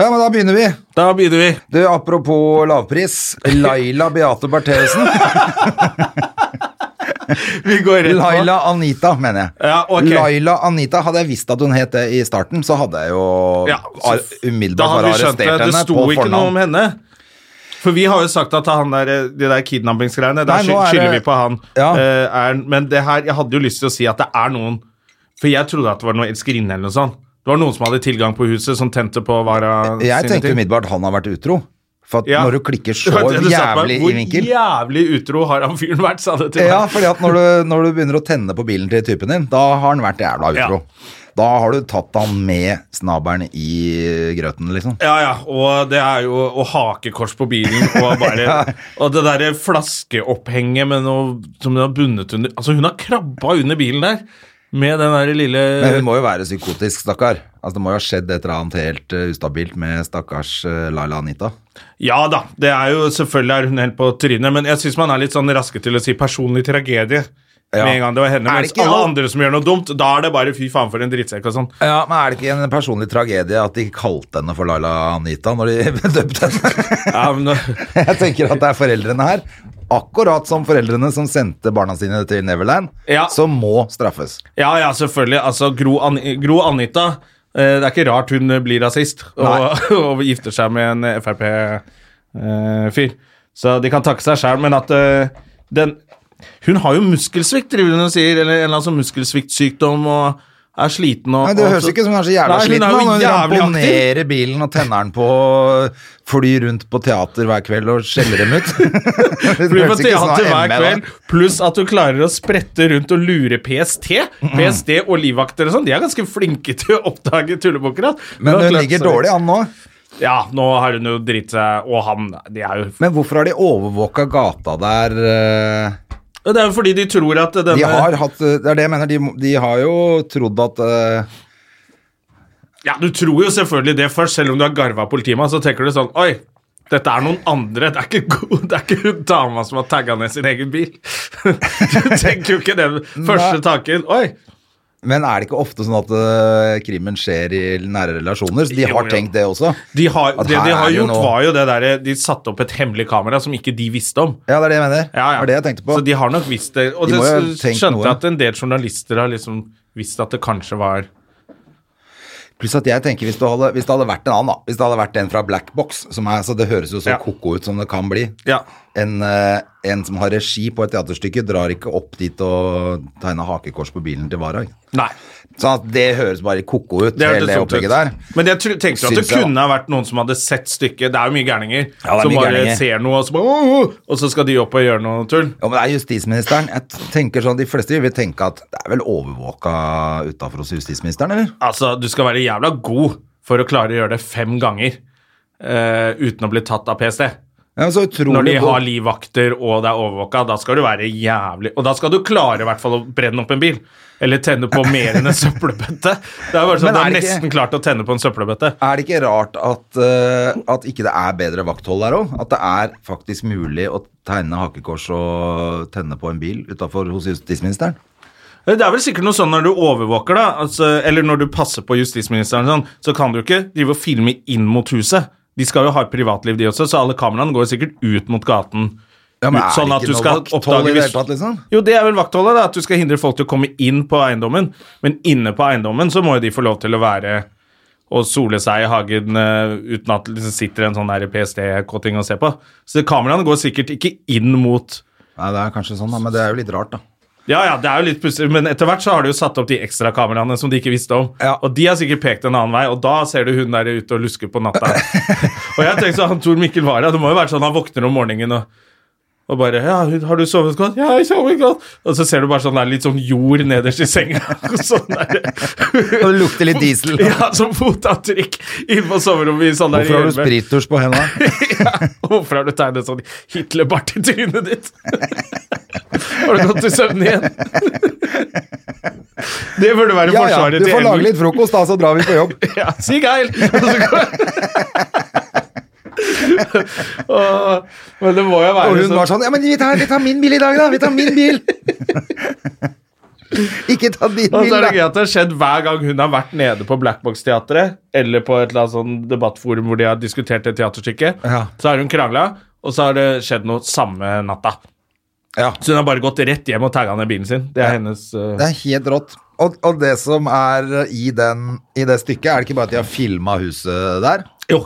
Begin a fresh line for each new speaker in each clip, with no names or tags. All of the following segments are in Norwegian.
Ja, men da begynner vi.
Da begynner vi.
Du, apropos lavpris. Laila Beate Bertheussen.
Vi går rett på.
Laila Anita, mener jeg.
Ja, ok.
Laila Anita, Hadde jeg visst at hun het det i starten, så hadde jeg jo
Ja, så
ar- umiddelbart bare arrestert henne på fornavn.
Det sto ikke noe om henne. For vi har jo sagt at han der, de der kidnappingsgreiene, der
Nei, nå
skyld-
er det-
skylder vi på han.
Ja.
eh, er, men det her, jeg hadde jo lyst til å si at det er noen For jeg trodde at det var noe elskerinne eller noe sånt. Det var noen som hadde tilgang på huset, som tente på Vara
Jeg
sine
tenkte
ting.
umiddelbart han har vært utro. For at
Ja.
når du klikker så
Det var det du sa på meg.
jævlig i vinkel
Hvor jævlig utro har han fyren vært, sa det til
Ja,
meg.
fordi at når du, når du begynner å tenne på bilen til typen din, da har han vært jævla utro. Da har du tatt han med snabelen i grøten, liksom.
Ja, ja, og det er jo og hakekors på bilen, og bare Og det derre flaskeopphenget med noe som hun har bundet under Altså, hun har krabba under bilen der med den derre lille
Men hun må jo være psykotisk, stakkar. Altså, det må jo ha skjedd et eller annet helt eh, ustabilt med stakkars eh, Laila Anita.
Ja da, det er jo selvfølgelig er hun helt på trynet, men jeg syns man er litt sånn raske til å si personlig tragedie.
Ja.
Med en gang det var henne,
Er det
mens
ikke
alle
noe-
andre som gjør noe dumt, da er det bare fy faen for en drittsekk og sånn.
Ja, Men er det ikke en personlig tragedie at de kalte henne for Laila Anita når de døpte henne?
Ja, men,
Jeg tenker at det er foreldrene her. Akkurat som foreldrene som sendte barna sine til Neverland,
Ja.
som må straffes.
ja, ja, selvfølgelig. Altså, Gro, An Gro Anita eh, Det er ikke rart hun blir rasist og, og gifter seg med en eh, Frp-fyr. eh, Så de kan takke seg sjæl, men at eh, den Hun har jo muskelsvikt, driver hun og sier, eller en eller annen sånn muskelsviktsykdom og er sliten og
Nei, Det
og
høres
så-
ikke ut som hun er så jævla
Nei,
sliten.
Hun er jo
Hun
jævlig aktiv.
ramponerer bilen og tenner den på fly rundt på teater hver kveld og skjeller dem ut. Det
Blir på
høres ikke sånn
teater
av
hver
ME da.
kveld, pluss at du klarer å sprette rundt og lure PST. PST og livvakter og sånn, de er ganske flinke til å oppdage tullebukker. ass.
Men
har
hun
klart
ligger
seg-
dårlig an nå.
Ja, nå har hun jo dritt seg, og han de er jo
Men hvorfor har de overvåka gata der? eh?
Det er jo fordi de tror at denne
De har hatt eh, Det er det jeg mener. De, må- de har jo trodd at eh,
Ja, du tror jo selvfølgelig det først, selv om du er garva politimann, så tenker du sånn Oi, dette er noen andre. Det er ikke, god, det er ikke hun dama som har tagga ned sin egen bil. Du tenker jo ikke den første tanken. Oi,
Men er det ikke ofte sånn at eh, krimmen skjer i nære relasjoner? Så de
Jo,
har
jo.
tenkt det også?
De har,
At
det
her
de har
er jo
gjort,
noe-
var jo det derre De satte opp et hemmelig kamera som ikke de visste om.
Ja, det er det jeg mener.
Ja, ja.
Det var det jeg tenkte på.
Så de har nok visst det. Og
De
det
må jo ha
s-
tenkt
skjønte
noe.
jeg at en del journalister har liksom visst at det kanskje var
Pluss at jeg tenker hvis, du hadde, hvis det hadde vært en annen, da. Hvis det hadde vært en fra Black Box, som er Så det høres jo så
Ja.
koko ut som det kan bli.
Ja.
En, eh, en som har regi på et teaterstykke, drar ikke opp dit og tegner hakekors på bilen til Varag.
Nei.
Så at det høres bare koko ut,
Det
hele
hørtes
det
sånn ut.
opplegget der.
Men jeg tr- tenker at det
Syns jeg, da.
kunne ha vært noen som hadde sett stykket. Det er jo mye gærninger
Ja, det er
som
mye
bare
gærninger.
ser noe, og så bare «Åh, åh», Og så skal de opp og gjøre noe tull.
Ja, men det er justisministeren. Jeg tenker sånn, De fleste vil tenke at det er vel overvåka utafor hos justisministeren, eller?
Altså, du skal være jævla god for å klare å gjøre det fem ganger eh, uten å bli tatt av PST.
Ja, men så utrolig
Når de
god-
har livvakter og det er overvåka, da skal du være jævlig Og da skal du klare i hvert fall å brenne opp en bil. Eller tenne på mer enn en søppelbøtte. Det er bare
Men
sånn, du
er
har
det ikke-
nesten klart å tenne på en søppelbøtte.
Er det ikke rart at, eh, at ikke det er bedre vakthold der òg? At det er faktisk mulig å tegne hakekors og tenne på en bil utafor hos justisministeren?
Det er vel sikkert noe sånn når du overvåker, da. Altså, eller når du passer på justisministeren, og sånn, så kan du ikke drive og filme inn mot huset. De skal jo ha et privatliv, de også, så alle kameraene går sikkert ut mot gaten.
Ja, men
Ut- sånn
er det ikke noe vakthold i det hele tatt, liksom?
Jo, det er vel vaktholdet, da, at du skal hindre folk til å komme inn på eiendommen. Men inne på eiendommen så må jo de få lov til å være og sole seg i hagen eh, uten at det liksom sitter en sånn PST-kåting og ser på. Så kameraene går sikkert ikke inn mot
Nei, det er kanskje sånn, da, men det er jo litt rart, da.
ja, ja, det er jo litt pussig, men etter hvert så har de jo satt opp de ekstrakameraene som de ikke visste om.
Ja.
Og de har sikkert pekt en annen vei, og da ser du hun der ute og lusker på natta. og jeg tenkte sånn, han Tor Mikkel Wara, det må jo være sånn han våkner om morgenen og Og bare ja, 'Har du sovet godt?' 'Ja, jeg sover godt.' Og så ser du bare sånn der, litt sånn jord nederst i senga. sånn der.
Og det lukter litt diesel.
Ja, som fotavtrykk inne på soverommet i sånn der
Hvorfor har du
hjelmer.
sprittusj på hendene?
Hvorfor har du tegnet sånn Hitler-bart i trynet ditt? har du gått til søvn igjen? det burde være
Ja, ja,
forsvaret
du får
til
lage litt frokost, da, så drar vi på jobb.
ja, si geil! Og så går- Åh, men det må jo være
Og hun var sånn Ja, men vi tar, vi tar min bil i dag, da! Vi tar min bil! Ikke ta din
Og
bil,
så er det gøy
da!
at det har skjedd hver gang hun har vært nede på Blackbox-teatret, eller på et eller annet sånn debattforum hvor de har diskutert et teaterstykke,
Ja.
så har hun krangla, og så har det skjedd noe samme natta.
Ja.
Så hun har bare gått rett hjem og tagga ned bilen sin. Det er hennes eh,
Det er helt rått. Og, og det som er i, den, i det stykket, er det ikke bare at de har filma huset der?
Jo.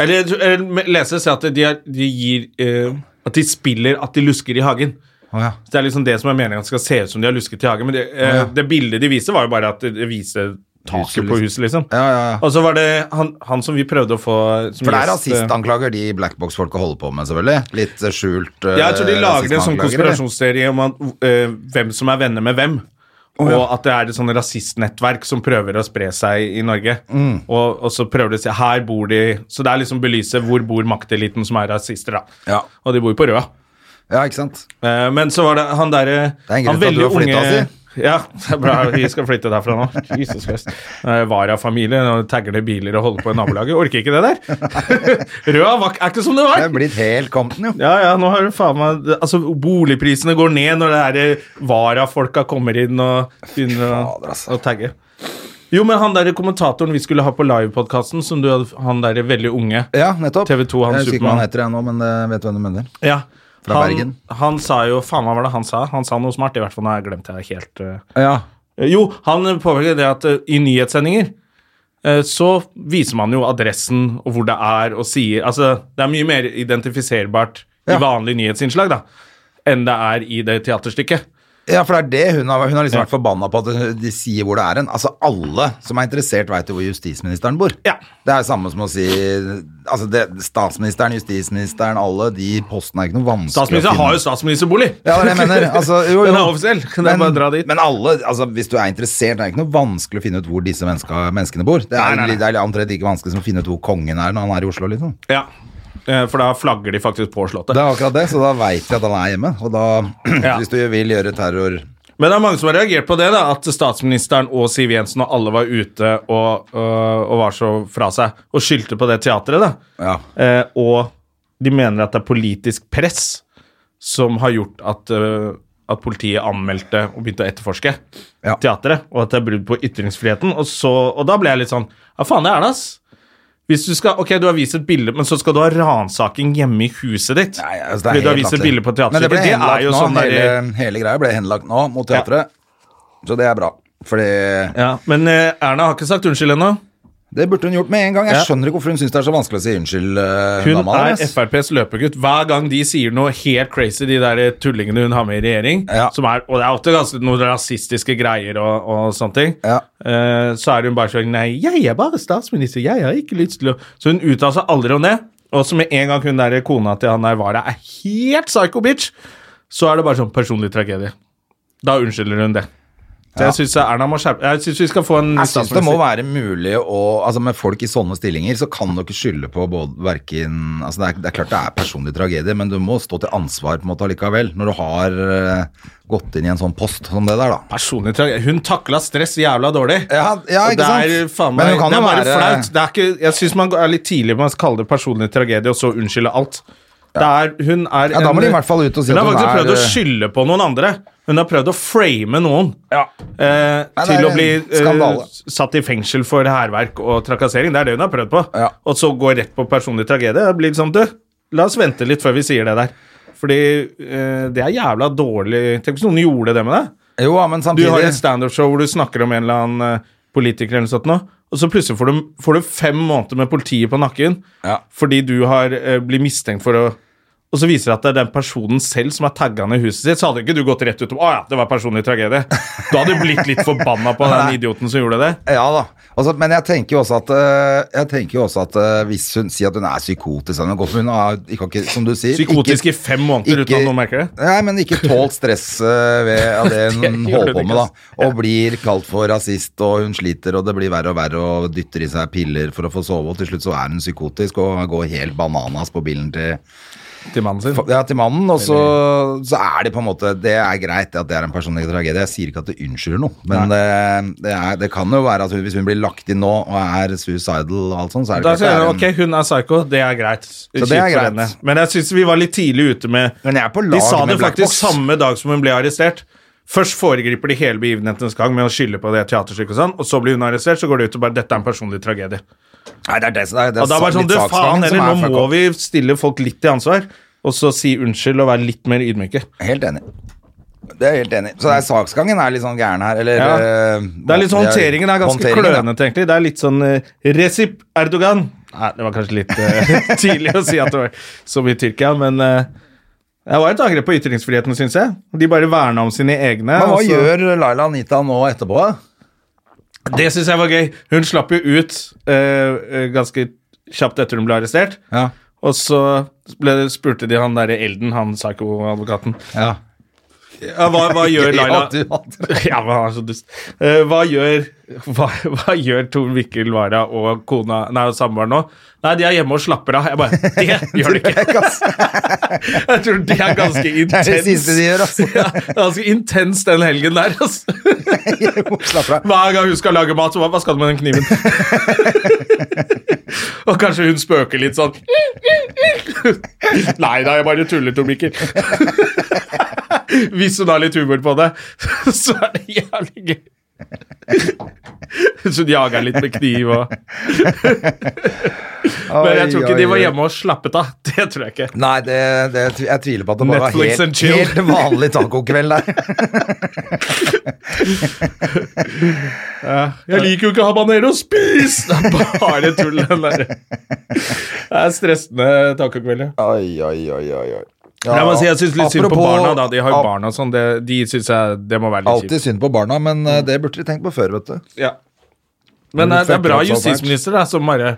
Eller, eller lese seg at de, er, de gir eh, At de spiller at de lusker i hagen.
Å ja.
Så Det er liksom det som er meningen, at det skal se ut som de har lusket i hagen. Men det, eh,
Ja.
det bildet de viste, var jo bare at det viste taket
Huset,
på
liksom.
huset, liksom.
Ja, ja, ja.
Og så var det han, han som vi prøvde å få som
For det er
gjest, eh,
rasistanklager de Blackbox-folka holder på med, selvfølgelig. Litt eh, skjult eh,
Ja, jeg tror de lager en sånn
rasistanklager, eller?
konspirasjonsserie om at, eh, hvem som er venner med hvem. Og at det er et sånn rasistnettverk som prøver å spre seg i Norge.
Mm.
Og, og så prøver de å si her bor de Så det er liksom belyse hvor bor makteliten som er rasister, da.
Ja.
Og de bor på Røa.
Ja, ikke sant?
Eh, men så var det han derre
Det er en grunn til at du har flyttet, altså. Asi.
Ja, det er bra vi skal flytte derfra nå. Jesus Christ. Eh, Vara-familie, og tagger ned biler og holder på i nabolaget. Orker ikke det der. Røa var, er ikke som det
Det
var.
er blitt helt Compton, jo.
Ja, ja, nå har du faen meg Altså, boligprisene går ned når det der varafolka kommer inn og begynner å,
Fader, altså.
å tagge. Jo, men han der kommentatoren vi skulle ha på livepodkasten, som du hadde Han der veldig unge
Ja, nettopp.
TV2, han
jeg husker ikke hva
Supermann.
han heter jeg nå, men eh, vet du hvem du mener.
Ja.
Fra
han,
Bergen.
Han sa jo Faen, hva var det han sa? Han sa noe smart. I hvert fall nå har jeg glemt det helt eh.
Ja.
Jo, han påpeker det at eh, i nyhetssendinger eh, så viser man jo adressen og hvor det er og sier Altså, det er mye mer identifiserbart i
Ja.
vanlige nyhetsinnslag da, enn det er i det teaterstykket.
ja, for det er det hun har, hun har liksom vært forbanna på, at de sier hvor det er hen. Altså, alle som er interessert, veit jo hvor justisministeren bor.
Ja.
Det er samme som å si Altså, det, statsministeren, justisministeren, alle de postene er ikke noe vanskelig
Statsministeren har jo statsministerbolig!
Ja, det er det jeg mener. Altså, jo, jo.
Den er offisiell. Det er bare å dra dit.
men alle, altså, hvis du er interessert, det er ikke noe vanskelig å finne ut hvor disse menneska, menneskene bor. Det er,
Nei, nei, nei.
det er omtrent like vanskelig som å finne ut hvor kongen er når han er i Oslo, liksom.
Ja, eh, For da flagger de faktisk på Slottet.
Det er akkurat det, så da veit jeg at han er hjemme. Og da,
Ja.
hvis du vil gjøre terror
Men det er mange som har reagert på det, da, at statsministeren og Siv Jensen og alle var ute og, øh, og var så fra seg og skyldte på det teatret. da.
Ja.
Eh, og de mener at det er politisk press som har gjort at, øh, at politiet anmeldte og begynte å etterforske
Ja.
teatret, og at det er brudd på ytringsfriheten. Og, så, og da ble jeg litt sånn Ja, faen, det er det, ass. Hvis du skal, ok, du har vist et bilde, men så skal du ha ransaking hjemme i huset ditt.
Nei, altså, det er
fordi du har
helt
vist et
latterlig.
bilde på
Men det
teaterstykket.
ble
Det,
henlagt
er jo
nå.
sånn der,
hele, hele greia ble henlagt nå, mot
Ja.
teatret. Så det er bra. Fordi
Ja, Men eh, Erna har ikke sagt unnskyld ennå.
Det burde hun gjort med en gang. Jeg
Ja.
skjønner ikke hvorfor hun syns det er så vanskelig å si unnskyld. eh,
Hun
dama
er
deres.
FrPs løpegutt. Hver gang de sier noe helt crazy, de der tullingene hun har med i regjering,
Ja.
som er, og det er ofte ganske noen rasistiske greier og, og sånne ting,
Ja.
eh, så er hun bare sånn Nei, jeg er bare statsminister, jeg har ikke lyst til å Så hun uttaler seg aldri om det. Og så med en gang hun der kona til han der Vara er helt psycho bitch, så er det bare sånn personlig tragedie. Da unnskylder hun det. Så jeg syns Erna må skjerpe Jeg syns vi skal få en ny
Jeg synes det må være mulig å Altså med folk i sånne stillinger så kan du ikke skylde på både hverken Altså det er, det er klart det er personlig tragedie, men du må stå til ansvar på en måte allikevel. Når du har eh, gått inn i en sånn post som det der, da.
Personlig tragedie. Hun takla stress jævla dårlig.
Ja, ja,
Og
ikke sant?
Det er faen
Men
meg,
hun kan
det er
jo
bare
være-
flaut. Det er ikke, jeg syns man er litt tidlig med å kalle det personlig tragedie, og så unnskylde alt. Det er, hun er
Ja, da må
en-
de i hvert fall ut og si
hun
at
har
hun
faktisk
er-
prøvd å skylde på noen andre. Hun har prøvd å frame noen eh,
Nei, det
til
er
å bli
en
eh,
skandale.
satt i fengsel for hærverk og trakassering. Det er det hun har prøvd på.
Ja.
Og så gå rett på personlig tragedie. Det blir liksom, du, la oss vente litt før vi sier det der. Fordi eh, det er jævla dårlig Tenk hvis noen gjorde det med deg.
Jo, ja, men
Du
samtidig
har et standup-show hvor du snakker om en eller annen eh, politiker, eller noe sånt nå, og så plutselig får du, får du fem måneder med politiet på nakken
Ja.
fordi du har eh, blitt mistenkt for å Og Og så viser det at det er den personen selv som er tagga ned huset sitt. Så hadde ikke du gått rett ut og Å ja, det var personlig tragedie. Da hadde du blitt litt forbanna på den idioten som gjorde det.
Ja da. Altså, men jeg tenker jo også at, øh, jeg tenker jo også at øh, hvis hun sier at hun er psykotisk hun er godt, hun har, ikke, ikke- Som du sier
Psykotisk
ikke-
i fem måneder uten at noen merker det.
Nei, men ikke tålt stress øh, ved av det
Det
hun
gjør
holder
hun
på
ikke,
med, da.
ass.
Og blir kalt for rasist, og hun sliter, og det blir verre og verre, og dytter i seg piller for å få sove, og til slutt så er hun psykotisk og går helt bananas på bilen til
Til mannen sin.
ja, til mannen, og så, så er det på en måte Det er greit at det er en personlig tragedie. Jeg sier ikke at det unnskylder noe, men det, det, er, det kan jo være at hun, hvis hun blir lagt inn nå og er suicidal og alt sånt, så er
Da
det klart det
sier
er
jeg
en-
ok, hun er psycho, det er greit.
det er
Kjipt for
greit.
henne. Men jeg syns vi var litt tidlig ute med
Men jeg er på
De
lag
sa
med
det
Black
faktisk
Box.
samme dag som hun ble arrestert. Først foregriper de hele begivenhetens gang med å skylde på det teaterstykket, og sånn, og så blir hun arrestert, så går det ut og bare 'Dette er en personlig tragedie'.
Nei, det er det, som- det, er det
Og da var det sånn,
litt
du faen
saksgangen som
heller,
er
nå
fuck
må
up.
vi stille folk litt til ansvar, og så si unnskyld og være litt mer ydmyke.
Helt enig. Det er jeg helt enig. i. Så det er saksgangen er litt sånn gæren her, eller
Ja.
eh,
Det er litt sånn, Håndteringen er ganske
håndteringen, ja.
klønete, egentlig. Det er litt sånn eh, Recip Erdogan Nei, det var kanskje litt eh, tidlig å si at det var som i Tyrkia, men eh, det var et angrep på ytringsfriheten, syns jeg. De bare verna om sine egne. altså.
Men hva
og så-
gjør Laila Anita nå etterpå? da?
Det syns jeg var gøy. Hun slapp jo ut eh, eh, ganske kjapt etter hun ble arrestert.
Ja.
Og så ble, spurte de han derre Elden, han psyko-advokaten.
Ja.
Ja, hva, hva gjør
Gøy
Laila
at du hadde-
Ja, men han er så dust. Eh, hva gjør, hva, hva gjør Tor Mikkel Wara og kona, nei, og samboeren nå? Nei, de er hjemme og slapper av. Jeg bare Det gjør de ikke! Jeg tror de er ganske
Det er det siste
intens.
de gjør, altså.
Ja, ganske intens den helgen der, altså.
Slapp av.
Hver gang hun skal lage mat, så hva, hva skal du med den kniven? og kanskje hun spøker litt sånn Nei da, jeg bare tuller, Tor Mikkel. Hvis hun har litt humor på det, så er det jævlig gøy. Så hun jager litt med kniv og Men jeg tror ikke de var hjemme og slappet av. Det tror jeg ikke.
Nei, det, det, jeg tviler på at det bare
Netflix
var
and
helt,
chill.
helt vanlig tacokveld der.
Jeg liker jo ikke habanero, spis! Det er bare tull, den der. Det er stressende tacokveld, ja.
Oi, oi, oi, oi, oi. Ja,
jeg må si, altså, jeg syns litt synd på
apropos-
barna, da. De har jo
ap-
barn og sånn. Det, de synes jeg det må være litt
Alltid synd på barna, men eh, det burde de tenkt på før, vet du.
kjipt. Ja. Men eh, det er bra
Fuck, altså,
justisminister, da, som bare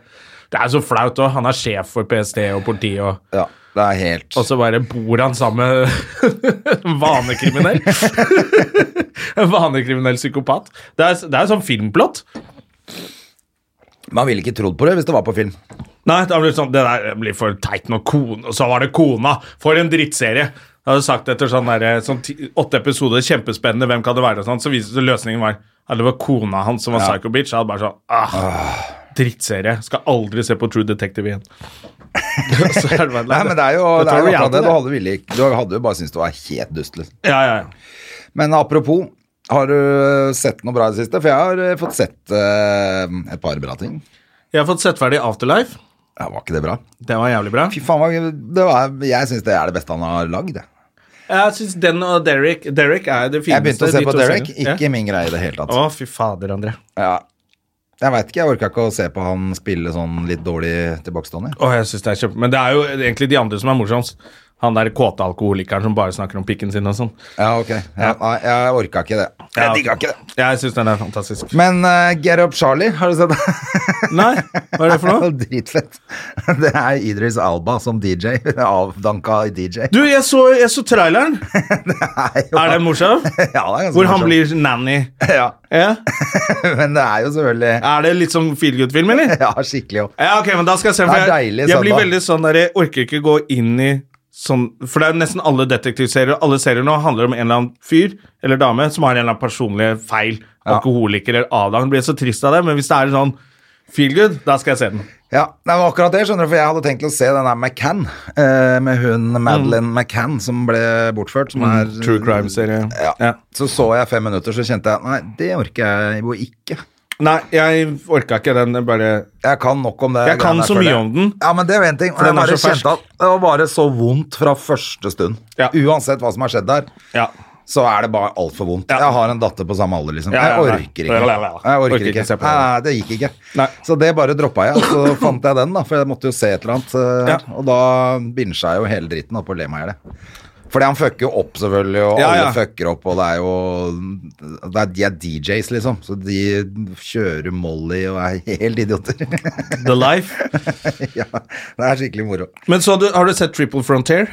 Det er så flaut òg. Han er sjef for PST og politiet, og,
Ja, det er helt
og så bare bor han sammen med en vanekriminell. En vanekriminell psykopat. Det er, det er sånn filmplott.
Man ville ikke trodd på det hvis det var på film.
Nei, da blir det sånn, det der blir for teit når kone, og så var det kona. For en drittserie. Da hadde du sagt etter sånn der, sånn ti, åtte episoder, kjempespennende, hvem kan det være, og sånn, så viser det seg løsningen var ja, det var kona hans som var psycho bitch. Jeg hadde bare sånn ah, drittserie. Skal aldri se på True Detective igjen. så er det bare,
Nei, men det er jo
Dette
det er jo akkurat
reality,
det. Du
det.
hadde, ville ikke- du hadde jo bare syntes det var helt dust, liksom.
Ja, ja, ja.
Men apropos, har du eh, sett noe bra i det siste? For jeg har eh, fått sett eh, et par bra ting.
Jeg har fått sett ferdig Afterlife.
Ja, var ikke det bra?
Det var jævlig bra.
Fy faen, hva- det var, jeg syns det er det beste han har lagd. jeg.
Jeg synes den og Derek Derek er det fineste.
Jeg begynte å se
de
på
to
Derek.
seriene.
Ikke min greie i det hele tatt.
ja. Å, fy fader, André.
Ja. Jeg veit ikke, jeg orka ikke å se på han spille sånn litt dårlig tilbakestående.
Åh, jeg synes det er kjempe... Men det er jo egentlig de andre som er morsomst. Han der kåte alkoholikeren som bare snakker om pikken sin og sånn.
Ja, ok. Ja, nei, jeg orka ikke det.
Ja.
Jeg digga ikke det.
Jeg synes den er fantastisk.
Men eh, Get Up Charlie, har du sett det?
Nei, hva er det for noe?
Dritfett. Det er Idris Alba som DJ. Avdanka DJ.
Du, jeg så, jeg så traileren.
Nei, jo.
Er den morsom?
Ja, det er ganske
Hvor han
morsomt.
blir nanny.
ja.
Ja.
Men det er jo selvfølgelig
Er det litt som feel good-film, eller?
Ja, skikkelig jo.
Ja, ok, men da skal jeg se. For
Det er
jeg,
deilig
jeg blir
søndag.
veldig sånn der, jeg orker ikke gå inn i sånn For det er jo nesten alle detektivserier og alle serier nå handler om en eller annen fyr eller dame som har en eller annen personlig feil. Alkoholiker eller avdank. Blir jeg så trist av det, men hvis det er sånn feel good, da skal jeg se den.
Ja, det var akkurat det, skjønner du, for jeg hadde tenkt å se den der McCann, eh, med hun Madeleine McCann som ble bortført, som er
Mm. True crime-serie.
Ja.
Ja.
Så så jeg fem minutter, så kjente jeg nei, det orker jeg jo ikke.
Nei, jeg orka ikke den. jeg Bare
Jeg kan nok om det.
Jeg kan
greiene der,
så
føler
mye
jeg.
om den.
Ja, men det er jo en ting.
For
Jeg
den er
bare
så fersk.
kjente at det var bare så vondt fra første stund.
Ja.
Uansett hva som har skjedd der.
Ja.
så er det bare altfor vondt. Jeg har en datter på samme alder, liksom.
Ja, ja,
Jeg
nei.
orker ikke.
Ja, ja, ja.
Jeg
Orker
orker
ikke
ikke.
se på det.
Nei, nei, det gikk ikke.
Nei.
Så det bare droppa jeg, og så fant jeg den, da, for jeg måtte jo se et eller annet. eh,
Ja.
Og da bincha jeg jo hele dritten opp og le meg i hjel. Fordi han fucker jo opp, selvfølgelig, og
Ja, ja.
alle fucker opp, og det er jo det er, De er DJs, liksom, så de kjører Molly og er helt idioter.
The Life.
ja, det er skikkelig moro.
Men så har du, har du sett Triple Frontier?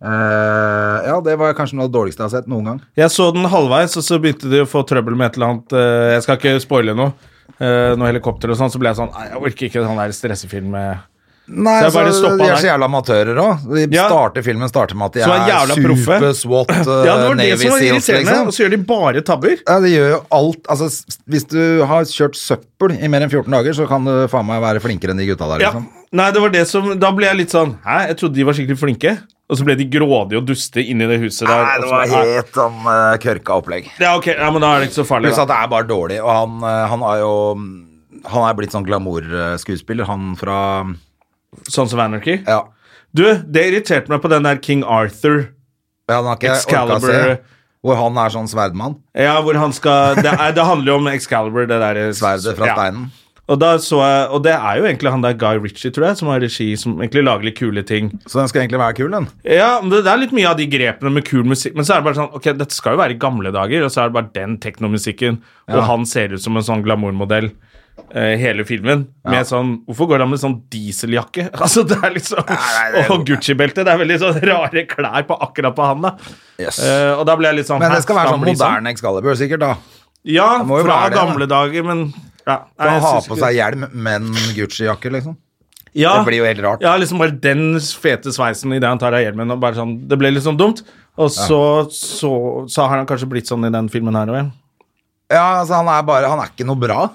Eh, ja, det var kanskje noe av det dårligste jeg har sett noen gang.
Jeg så den halvveis, og så begynte de å få trøbbel med et eller annet eh, Jeg skal ikke spoile noe. eh, noe helikopter og sånn. Så ble jeg sånn Nei, jeg orker ikke sånn der stressefilm med Så
Nei,
jeg
altså,
bare stoppa
de er
der.
så jævla amatører òg.
Ja.
Filmen starter med at de
Som er
er,
jævla proffe.
super SWAT, uh,
Ja, det var det
Navy
som var
Seals,
irriterende,
liksom.
og så gjør de bare tabber.
Ja, det gjør jo alt Altså, s- hvis du har kjørt søppel i mer enn 14 dager, så kan du faen meg være flinkere enn de gutta der,
Ja.
liksom.
Nei, det var det som Da ble jeg litt sånn Hæ, jeg trodde de var skikkelig flinke. Og så ble de grådige og duste inni det huset der. og så bare, «Nei, altså,
helt sånn uh, kørka opplegg.
Ja, ok, ja, men da er det ikke så farlig.
Pluss
Da.
at det er bare dårlig, og han, eh, han er jo Han er blitt sånn glamourskuespiller, han fra
Sånn som Anarchy.
Ja.
Du, det irriterte meg på den der King Arthur.
ja han har ikke orka å se.
Excalibur.
Hvor han er sånn sverdmann.
Ja, hvor han skal Det, er, det handler jo om Excalibur, det der
Sverdet fra
ja.
steinen.
Og, da så jeg, og det er jo egentlig han der Guy Ritchie, tror jeg, som har regi, som egentlig lager litt kule ting.
Så den skal egentlig være kul, den.
Ja, men det, det er litt mye av de grepene med kul musikk, men så er det bare sånn Ok, dette skal jo være i gamle dager, og så er det bare den teknomusikken, og han ser ut som en sånn glamourmodell eh, hele filmen. Med sånn Hvorfor går han med sånn dieseljakke? Altså, det er liksom Og Gucci-belte. Det er veldig sånn rare klær på akkurat på han, da.
Yes.
Eh, og da ble jeg litt sånn
Men
hæ,
det skal være
han
sånn
bli sånn?"
moderne Excalibur, sikkert, da.
Ja,
må jo
fra
være det, da.
gamle dager, men ja, nei,
Han
jeg
har
synes
på
ikke-
seg hjelm, men Gucci-jakke, liksom.
ja,
Det blir jo helt rart.
Ja, liksom bare den fete sveisen idet han tar av hjelmen. Og bare sånn, det ble litt sånn dumt. Og så, så, så har han kanskje blitt sånn i den filmen her òg.
Ja, altså, han er bare Han er ikke noe bra.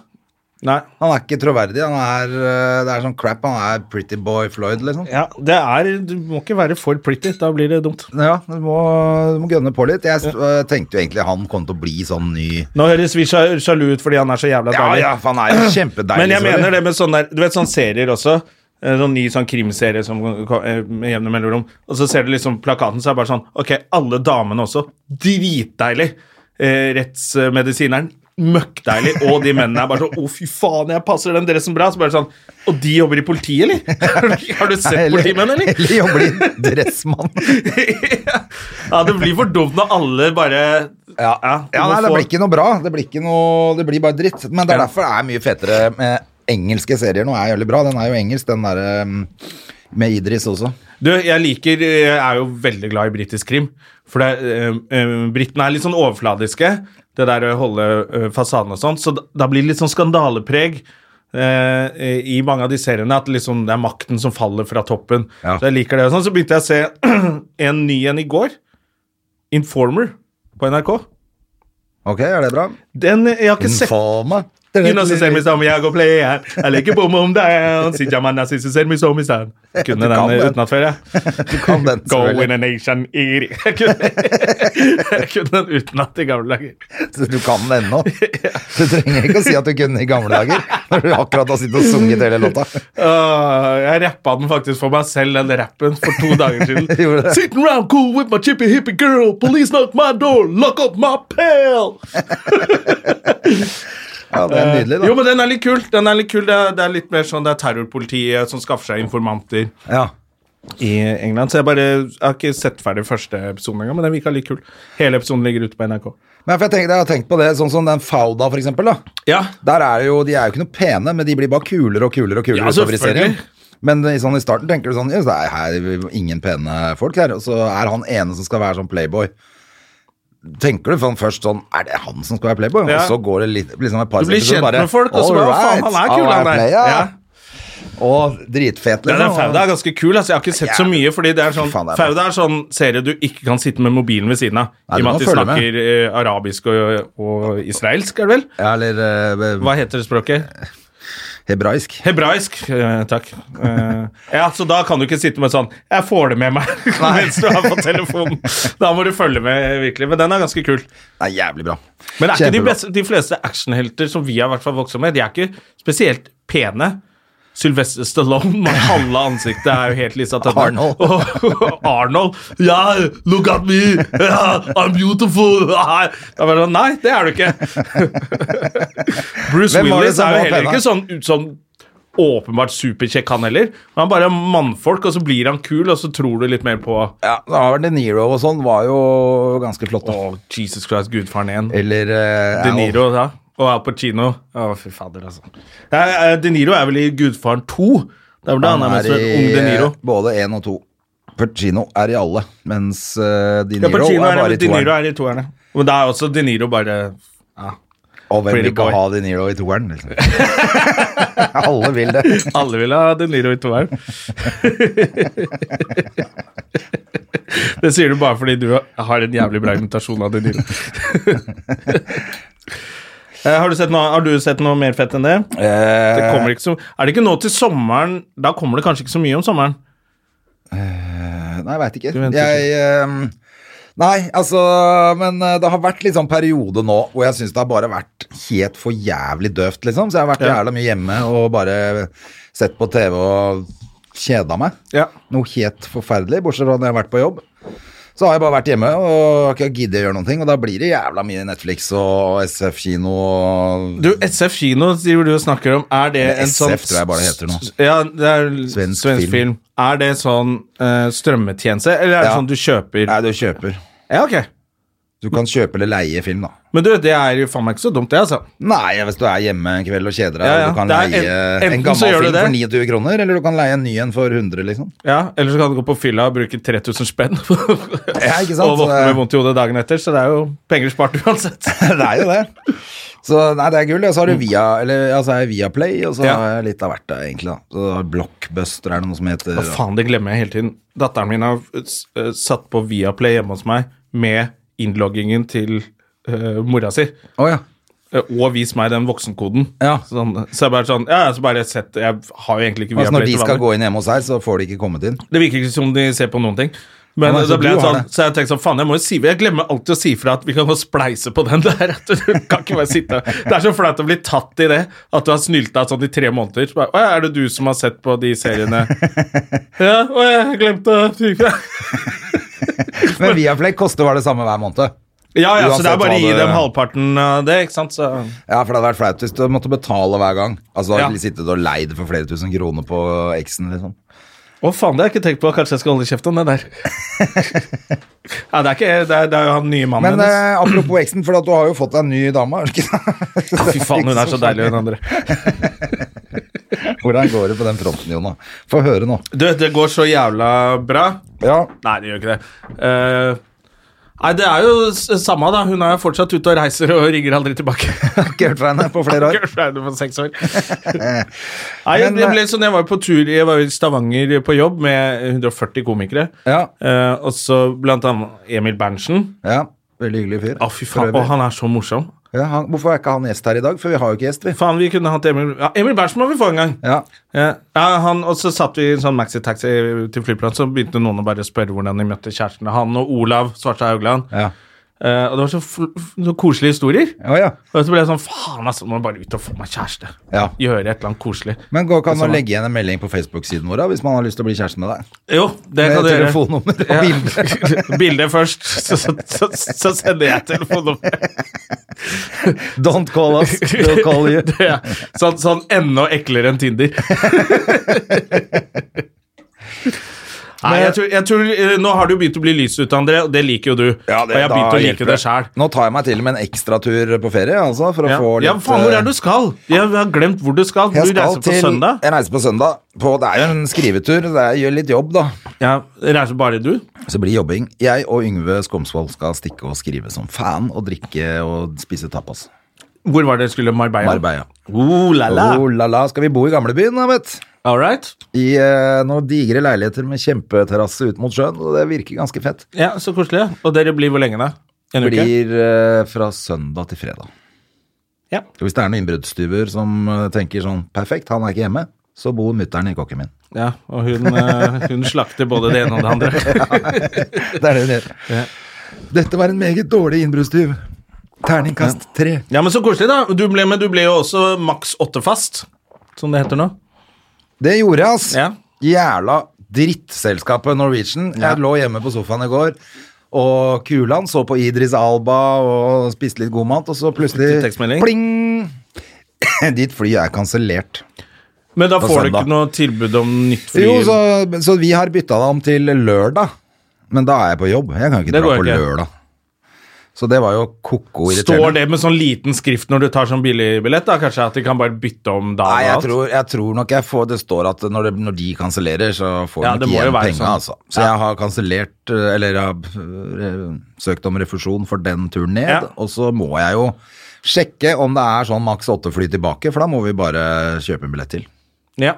Nei.
Han er ikke troverdig. Han er, øh, det er sånn crap. Han er pretty boy Floyd, liksom.
Ja, det er Du må ikke være for pretty. Da blir det dumt.
Ja, du må, du må gønne på litt. Jeg øh, tenkte jo egentlig han kom til å bli sånn ny
Nå høres vi sja- sjalu ut fordi han er så jævla
Ja,
deilig.
ja, for han er jo kjempedeilig.
Men jeg
selvfølgelig.
mener det med sånn der Du vet sånn serier også. eh, Sånn ny sånn krimserie som ko- eh, med jevne mellomrom. Og så ser du liksom plakaten, så er det bare sånn Ok, alle damene også. Dritdeilig! Eh, rettsmedisineren. Møkkdeilig. Og de mennene er bare sånn Å, fy faen, jeg passer den dressen bra. Så bare sånn Og de jobber i politiet, eller? Har du sett politimenn, eller?
Eller jobber i dressmann.
ja, det blir for dumt når alle bare
Ja, ja,
du må
nei, det
få-
blir ikke noe bra. Det blir, ikke noe, det blir bare dritt. Men det er
Ja.
derfor det er mye fetere med engelske serier nå. er jævlig bra. Den er jo engelsk, den derre med Idris også.
Du, jeg liker eh, Jeg er jo veldig glad i britisk krim. For det, eh, eh, britene er litt sånn overfladiske. Det der å holde eh, fasaden og sånn. Så da, da blir det litt sånn skandalepreg eh, i mange av de seriene. At liksom det er makten som faller fra toppen.
Ja.
Så jeg liker det. og Sånn, så begynte jeg å se en ny en i går. Informer på NRK.
Ok, er det bra?
Den, jeg har ikke sett
Informa.
You know, she said me some, jeg går player. Jeg liker bom om down. Sinja manna, she said me some, son. Kunne
Du kan
den eh,
den.
utenat før, jeg.
Du kan den,
Go
selvfølgelig.
in a nation eat it. Jeg kunne- jeg kunne den utenat i gamle dager.
Så Du kan det ennå. Du trenger ikke å si at du kunne i gamle dager, når du akkurat har sittet og sunget hele låta.
Åh, jeg rappa den faktisk for meg selv, den rappen, for to dager
Gjorde
siden.
det?
Sitting round cool with my chippy hippie girl. Police knock my door, lock up my pal.
Ja, Det er nydelig,
Eh, Jo,
da.
men den er litt kul. Den er litt kul. Det er, det er litt mer sånn, det er terrorpolitiet som skaffer seg informanter.
Ja.
i England. Så jeg bare jeg har ikke sett ferdig første episoden engang, men den virka litt kul. Hele episoden ligger ute på NRK.
Men for jeg, tenker, jeg har tenkt på det, sånn som den Fauda, for eksempel. Da.
Ja,
Der er det jo, De er jo ikke noe pene, men de blir bare kulere og kulere og kulere
Ja,
utover i serien.
selvfølgelig.
Men i sånn, i starten tenker du sånn Jøss, det er her ingen pene folk her. Og så er han ene som skal være sånn playboy. Tenker du sånn først sånn Er det han som skal være playboy?
Ja.
Og så går det litt, liksom et par
Altså, Du blir
episoder
kjent
bare,
med folk, og så bare
«Alright,
faen, han er kul, han der.
alright,
Ja.
ja. Og dritfet,
Ja,
liksom.
den Fauda er ganske kul. Altså, jeg har ikke sett så mye, fordi det er sånn,
Fy faen, det er bra.
Fauda er sånn serie du ikke kan sitte med mobilen ved siden av. I
Nei,
og
du
med at
må
de
følge
snakker eh, arabisk og, og israelsk, er det vel?
Ja, eller eh,
Hva heter det språket?
hebraisk.
Hebraisk. eh, takk. Eh, ja, så da kan du ikke sitte med sånn 'Jeg får det med meg' mens du er på telefonen. Da må du følge med, virkelig. Men den er ganske kul.
Det er jævlig bra.
Men er ikke de,
Kjempebra.
beste, de fleste actionhelter som vi har i hvert fall vokst opp med, de er ikke spesielt pene. Sylvester Stallone med halve ansiktet er jo helt liksom lisa til
Arnold.
Arnold. Ja, look at me! Ja, I'm beautiful! Ja. Da var det sånn, Nei, det er du ikke. Bruce
Hvem var det
Willis
som
er jo
var
heller
pena?
ikke sånn, sånn åpenbart superkjekk, han heller. Han er bare mannfolk, og så blir han kul, og så tror du litt mer på
Ja, da var De Niro og sånn var jo ganske flott. da.
Å, Jesus Christ, gudfaren igjen.
Eller eh,
De
Al-
Niro, ja. Og Al Pacino. Å, fy fader, altså. Nei, eh, De Niro er vel i Gudfaren 2. Det er vel da han er mest vel ung De Niro.
eh, både én og to. Pacino er i alle, mens eh, De
Ja,
Niro
Pacino
er
er,
bare i
De Niro er
toeren.
i toeren, ja. Men da er også De Niro bare ja.
Og hvem vil
Pretty
ikke
Boy.
ha De Niro i toeren? Liksom. alle vil det.
Alle vil ha De Niro i toeren. det sier du bare fordi du har en jævlig bra imitasjon av De Niro. Eh, Har du, sett noe, har du sett noe mer fett enn det? Det
Eh,
kommer ikke så, er det ikke nå til sommeren Da kommer det kanskje ikke så mye om sommeren.
Nei, jeg veit ikke.
Du venter
Jeg ehm, Nei, altså Men eh, det har vært litt sånn periode nå hvor jeg syns det har bare vært helt for jævlig døvt, liksom. Så jeg har vært
Ja.
jævla mye hjemme og bare sett på TV og kjeda meg.
Ja.
Noe helt forferdelig, bortsett fra når jeg har vært på jobb. Så har jeg bare vært hjemme og ikke giddet å gjøre noen ting, og da blir det jævla mye Netflix og SF-kino og
Du, SF Kino driver du og snakker om. Er det en
SF
sånn
tror jeg bare det heter nå.
Ja, det er svensk,
Svensk
film. Er det sånn eh, strømmetjeneste, eller er det
Ja.
sånn du kjøper
Nei, du kjøper.
Ja, ok.
Du kan kjøpe eller leie film, da.
Men du, det er jo faen meg ikke så dumt, det, altså.
Nei, hvis du er hjemme en kveld og kjeder deg,
Ja, ja.
og du kan
Det er en-
leie en,
enten så
gammel
gjør du
film
det.
for 29 kroner, eller du kan leie en ny en for 100, liksom.
Ja, Eller så kan du gå på fylla og bruke 3000 spenn
Ja, ikke sant?
og våkne
Så
med
det-
vondt i hodet dagen etter, så det er jo penger spart uansett.
det er jo det. Så nei, det er gull. Og så har du via, eller, ja, så er jeg Viaplay, og så
Ja.
har jeg litt av hvert, da, egentlig. da. Så har Blockbuster er det noe som heter.
Hva faen, det glemmer jeg hele tiden. Datteren min har eh, satt på Viaplay hjemme hos meg med innloggingen til eh, mora si.
Å ja.
Eh, Og vis meg den voksenkoden.
Ja.
Sånn, så jeg bare sånn Ja, ja, så bare sett Jeg har jo egentlig ikke
Altså, når de
til
skal
vanlig.
gå inn hjemme hos deg, så får de ikke kommet inn.
Det virker ikke som de ser på noen ting. Men
Ja, nei,
da
så
ble
du
jeg
har
sånn,
det.
så jeg tenkte sånn, faen, jeg må jo si Jeg glemmer alltid å si fra at vi kan gå og spleise på den der. At du kan ikke bare sitte Det er så flaut å bli tatt i det, at du har snylta sånn i tre måneder. Så bare, Å ja, er det du som har sett på de seriene? ja, å ja, jeg glemte å si fra.
Men Viaplay koster var det samme hver måned.
Ja, ja, så det
Uansett
er bare
hva
å gi
det-
dem halvparten av det, ikke sant? Så
Ja, for det hadde vært flaut hvis du måtte betale hver gang. Altså, da
Ja.
har du sittet og leid for flere tusen kroner på X-en, liksom.
Å, faen, det har jeg ikke tenkt på. Kanskje jeg skal holde kjeft om det der. ja, det er ikke det er, det er jo han nye mannen
Men
hennes.
eh, apropos X-en, for at du har jo fått deg en ny dame, har du ikke det?
Fy faen, hun er så deilig, hun andre.
Hvordan går det på den fronten, Jona? Få høre nå.
Du, det går så jævla bra.
Ja,
Nei, det gjør ikke det. Eh, nei, det er jo s- samme, da. Hun er jo fortsatt ute og reiser og ringer aldri tilbake.
ikke hørt fra henne på flere år.
Gørst er det for seks år. Nei,
Men,
det
eh,
ble sånn, jeg var på tur i- Jeg var i Stavanger på jobb med 140 komikere.
Ja.
Eh, og så blant annet Emil Berntsen.
Ja, veldig hyggelig fyr.
Å, fy faen.
For øvrig.
Og han er så morsom.
Ja, han, hvorfor er ikke han gjest her i dag? For vi har jo ikke gjest, vi.
Faen, vi kunne hatt Emil ja, Emil Berntsen må vi få en gang.
Ja,
Ja, ja han, Og så satt vi i en sånn maxitaxi til flyplassen, så begynte noen å bare spørre hvordan de møtte kjærestene. Han og Olav Svartstad Haugland.
ja.
Eh, og det var så, fl f- så koselige historier.
Å, ja.
Og så ble jeg sånn Faen, altså, må jeg bare ut og få meg kjæreste.
Ja.
Gjøre et eller annet koselig.
Men går ikke an
Det
å
samme.
legge igjen en melding på Facebook-siden vår da, hvis man har lyst til å bli kjæreste med deg?
Jo, det kan du
Med
gjøre.
telefonnummer og bilder.
Bildet først, så, så, så, så sender jeg telefonnummeret.
Don't call us, we'll call you.
Det er Sånn, sånn enda eklere enn Tinder. Nei, jeg tror, jeg tror, eh, Nå har det jo begynt å bli lys ute, André, og det liker jo du. og jeg har begynt å like det sjæl.
Nå tar jeg meg til med en ekstratur på ferie, altså, for å
Ja.
få litt
ja, faen, hvor er
eh,
du skal? Jeg har glemt hvor du skal. Du
Jeg skal
reiser på
til,
søndag.
jeg reiser på søndag. På, det er jo en skrivetur, det er, gjør litt jobb da.
Ja, Reiser bare du?
Så blir det jobbing. Jeg og Yngve Skomsvold skal stikke og skrive som fan, og drikke og spise tapas.
Hvor var det dere skulle? Marbella?
Marbella.
Oh, la, la.
Oh, la, la. Skal vi bo i gamlebyen, da, vet du?
All right.
I eh, noen digre leiligheter med kjempeterrasse ut mot sjøen, og det virker ganske fett.
Ja, Så koselig. Og dere blir hvor lenge, da? En
Det
uke?
blir eh, fra søndag til fredag.
Ja.
Og hvis det er noen innbruddstyver som eh, tenker sånn perfekt, han er ikke hjemme, så bor mutter'n i kokken min.
ja og hun, eh, hun slakter både det ene og det andre.
Det er det hun gjør. Dette var en meget dårlig innbruddstyv. Terningkast tre.
Ja, Men så koselig, da. Du ble, men du ble jo også maks åtte fast, som det heter nå.
Det gjorde jeg, ass.
Ja.
Jævla drittselskapet Norwegian. Jeg
Ja.
lå hjemme på sofaen i går og kulan, så på Idris Alba og spiste litt god mat, og så
Fikk du
plutselig
tekstmelding?
pling! Ditt fly er kansellert.
Men da
På
får du ikke
søndag.
noe tilbud om nytt fly?
Jo, så, så vi har bytta det om til lørdag. Men da er jeg på jobb. Jeg kan ikke
Det
dra
går
på
ikke.
lørdag. Så det var jo ko-ko irriterende.
Står det med sånn liten skrift når du tar sånn billigbillett, da? Kanskje at de kan bare bytte om dagen? og
Nei, jeg
alt?
tror, jeg tror nok jeg får Det står at når, det, når de kansellerer, så får
Ja,
de
det
ikke
må jo
igjen
være
penga,
sånn.
altså. Så jeg har kansellert eh, Eller jeg har eh, søkt om refusjon for den turen ned,
Ja.
og så må jeg jo sjekke om det er sånn maks åtte fly tilbake, for da må vi bare kjøpe en billett til.
Ja.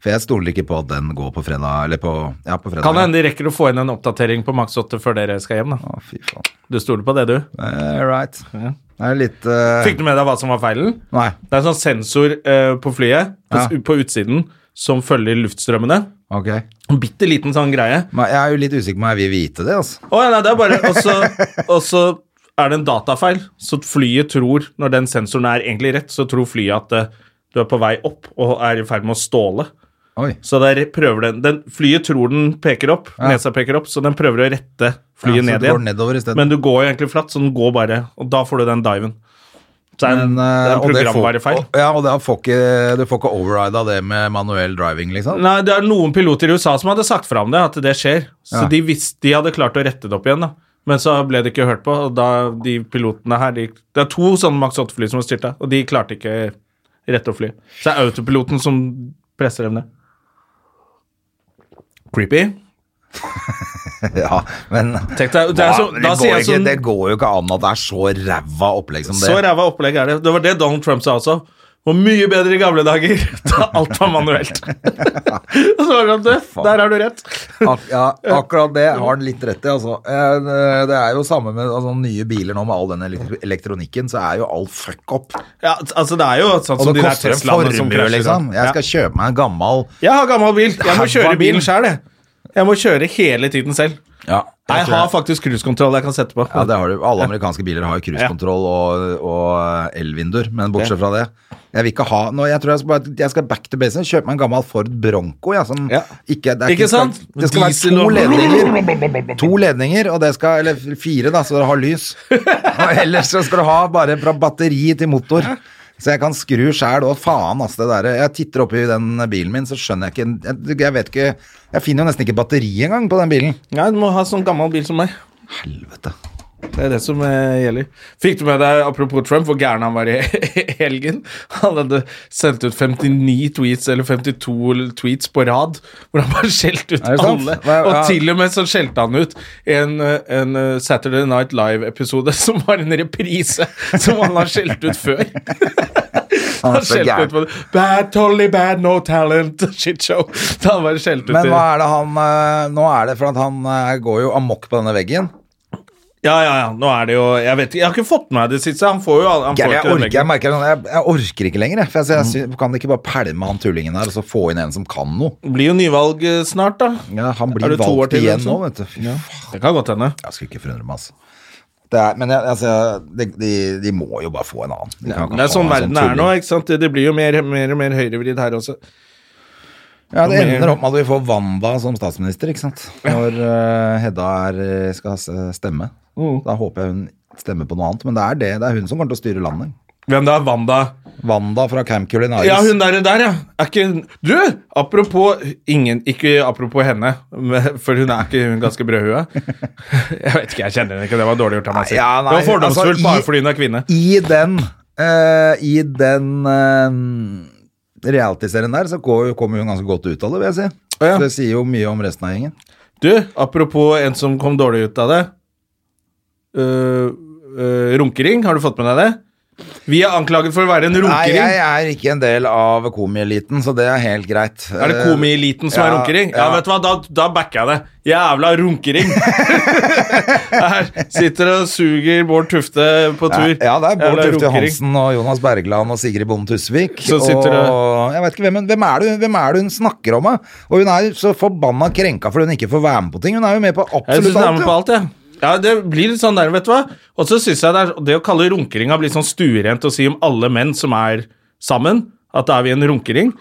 For jeg stoler ikke på at den går på fredag, eller på Ja, på fredag.
Kan det hende de rekker å få inn en oppdatering på maks 8 før dere skal hjem, da.
Å, fy faen.
Du stoler på det, du?
Eh, right. Det er litt eh,
Fikk du med deg hva som var feilen?
Nei.
Det er en sånn sensor eh, på flyet, på,
Ja.
på utsiden, som følger luftstrømmene.
Ok.
En bitte liten sånn greie.
Men jeg er jo litt usikker på om jeg vil vite det, altså.
Å ja, nei, det er bare Og så- og så er det en datafeil, så flyet tror, når den sensoren er egentlig rett, så tror flyet at eh, du er på vei opp og er i ferd med å ståle.
Oi.
Så der prøver den, den Flyet tror den peker opp, nesa peker opp, så den prøver å rette flyet
Ja,
ned
så det går
igjen.
nedover i stedet.
Men du går jo egentlig flatt, så den går bare, og da får du den diven. Så det er en,
Men,
det er
eh,
en
og det får-
programvare feil.
og- Ja, og det får ikke, du får ikke overrida det med manuell driving, liksom?
Nei, det er noen piloter i USA som hadde sagt fra om det, at det skjer. Så
Ja.
de visste de hadde klart å rette det opp igjen, da. Men så ble det ikke hørt på, og da de pilotene her de, Det er to sånne Max 8-fly som har styrta, og de klarte ikke rette opp flyet. Så det er autopiloten som presser dem ned. Creepy.
Ja, men
Tenk deg, det er så,
Hva? det,
da
går
sier jeg
ikke,
sånn
det går jo ikke an at det er så ræva opplegg som det.
Så ræva opplegg er det. Det var det Donald Trump sa også. Og mye bedre i gamle dager. Da alt var manuelt. Og så var det sånn, du, Der har du rett.
Ak ja, akkurat det har han litt rett i, altså. Eh, Det er jo samme med altså, nye biler nå, med all den elektro- elektronikken, så er jo alt fuck up.
Ja, altså Det er jo sånn som
Og
de
det
der
koster en
Teslaene som
formue,
krasjer.
liksom.
Liksom.
Jeg skal kjøpe meg en gammal
Jeg har gammel bil. Jeg må
Hæva
kjøre
bil.
bilen sjøl, jeg. Jeg må kjøre hele tiden selv.
ja,
Jeg
tror
har faktisk cruisekontroll jeg kan sette på.
Ja, det har du. Alle amerikanske biler har jo cruisekontroll og, og eh, elvinduer, men bortsett fra det Jeg vil ikke ha nå, Jeg tror jeg skal, bare, jeg skal back to basen. Kjøpe meg en gammel Ford Bronco. Jeg, som
Ja.
ikke, det er
Ikke sant?
Det skal
Diesel
være to
og-
ledninger, to ledninger, og det skal, eller fire, da, så det har lys. Og ellers så skal du ha bare fra batteri til motor. Så jeg kan skru sjæl og faen, ass, det derre. Jeg titter oppi den bilen min, så skjønner jeg ikke Jeg, jeg vet ikke Jeg finner jo nesten ikke batteri engang på den bilen.
Ja, du må ha sånn gammel bil som meg.
Helvete.
Det er det som eh, gjelder. Fikk du med deg, apropos Trump, hvor gæren han var i helgen? Han hadde sendt ut 59 tweets, eller 52 tweets på rad, hvor han bare skjelte ut
Er det sant?
alle.
Hva-
Og
hva-
til og med så skjelte han ut en, eh, en eh, Saturday Night Live-episode som var en reprise som han har skjelt ut før.
Han
Han
er så
skjelte
gæren.
ut på det. Bad, totally bad, no talent, shit show. Da han bare skjelte ut.
Men
i-
hva er det han eh, Nå er det for at han eh, går jo amok på denne veggen.
Ja, ja, ja. Nå er det jo Jeg vet ikke, jeg har ikke fått med meg det siste. Han får jo han får
Jeg,
ikke
jeg,
den
orker,
leggen.
jeg, merker, sånn, jeg, jeg orker ikke lenger. jeg. For
Mm.
jeg, sy- jeg sy- Kan ikke bare pælme han tullingen her og så få inn en som kan noe?
Det blir jo nyvalg eh, snart, da.
Ja, han
Er
blir
det to år
valgt
til,
igjen
liksom?
nå, vet du. Fy faen,
Det kan godt hende.
Jeg skulle ikke forundre meg, altså. Det er, men jeg, altså, de, de, de må jo bare få en annen. De kan ikke
Det er
ha
sånn
en
verden er
tulling.
nå. ikke sant? Det- Det blir jo mer mer og mer høyrevridd her også.
Ja, Det ender opp med at vi får Wanda som statsminister, ikke sant. Når eh, Hedda er, eh, skal s- stemme.
Mm.
Da håper jeg hun stemmer på noe annet. Men det er det, det er hun som kommer til å styre landet.
Hvem da? Wanda?
Wanda fra Camp Culinaris.
Ja, hun der, der ja. Er ikke Du! Apropos ingen Ikke apropos henne, men- for hun er ikke hun er ganske brødhue. Jeg vet ikke, jeg kjenner henne ikke. Det var dårlig gjort av meg. å si.
Ja, nei,
det var fordomsfullt
altså, i-
bare fordi hun er kvinne.
I den eh, I den eh, realityserien der, så går- kommer hun ganske godt ut av det, vil jeg si.
Å, ja.
Det sier jo mye om resten av gjengen.
Du, apropos en som kom dårlig ut av det. Øh, øh, runkering, har du fått med deg det? Vi er anklaget for å være en
Nei,
runkering.
jeg er ikke en del av komieliten, så det er helt greit.
Er det komieliten som
Eh, Ja,
er runkering? Ja,
ja.
vet du hva, da, da backer jeg det. Jævla runkering! Her sitter og suger Bård Tufte på tur.
Eh, Ja, det er Bård
Jævla
Tufte
runkering.
Johansen og Jonas Bergland og Sigrid Bonde Tusvik.
Så sitter det-
og jeg vet ikke hvem, hun- hvem, er det, hun- hvem er det hun snakker om? da? Og hun er så forbanna krenka fordi hun ikke får være med på ting. Hun er jo med på
Jeg
absolutt
synes det er
alt.
med
jo.
på alt, jeg. Ja, det blir litt sånn der, vet du hva. Og så synes jeg det, er, det å kalle runkeringa blir sånn stuerent å si om alle menn som er sammen, at da er vi en runkering.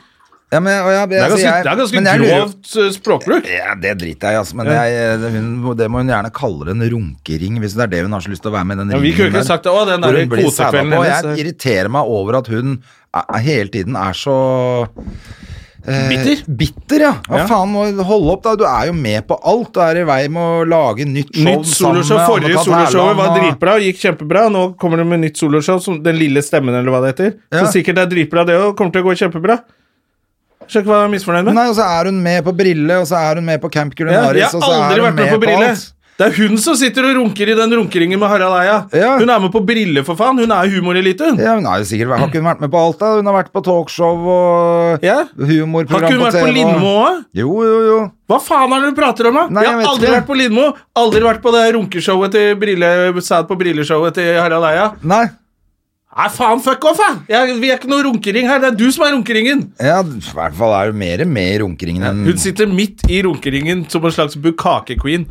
Ja, men, og jeg,
Det er
altså,
ganske,
jeg-
det er ganske
men jeg lurer-
grovt eh, språkbruk.
Ja, det driter jeg i, altså. Men jeg, det, hun- det må hun gjerne kalle en runkering, hvis det er det hun har så lyst til å være med i den
Ja, vi kunne ikke sagt det. Å, den der
hvor hun blir sæda
kosekvelden
på.
hennes, eh.
Jeg irriterer meg over at hun er, er- hele tiden er så eh,
Bitter?
Bitter, ja. Hva
Ja.
faen, må hold opp, da. Du er jo med på alt. Du er i vei med å lage nytt show
Nytt soloshow.
sammen med
Forrige
Anne-Kat.
soloshowet var
Herland, og-
dritbra, gikk kjempebra. Nå kommer det med nytt soloshow, som Den lille stemmen, eller hva det heter.
Ja.
Så sikkert det er dritbra, det òg. Kommer til å gå kjempebra. Skjønner ikke hva jeg er misfornøyd med.
Nei, og så er hun med på Brille, og så er hun med på Camp
Ja,
Culinaris,
jeg har
og så altså, er
aldri
hun
vært med på Brille.
alt.
Det er hun som sitter og runker i den runkeringen med Harald Eia.
Ja.
Hun er med på Brille, for faen. Hun er humorelite, hun.
Ja, hun har jo sikkert vært, har ikke hun vært med på alt da? Hun har vært på talkshow og
Ja. Har
humorprogram
ikke hun
på TV.
vært på Lindmo òg?
Jo, jo, jo.
Hva faen er det du prater om, da?
Nei,
jeg
jeg
har
vet
aldri
ikke.
vært på Lindmo. Aldri vært på det runkeshowet til Brille, Sæd på brilleshowet til Harald Eia.
Nei.
Nei, faen, fuck off, jeg. jeg! Vi er ikke noe runkering her. Det er du som er runkeringen.
Ja, i hvert fall er hun mer med i runkeringen enn...
Hun sitter midt i runkeringen som en slags bukake-queen.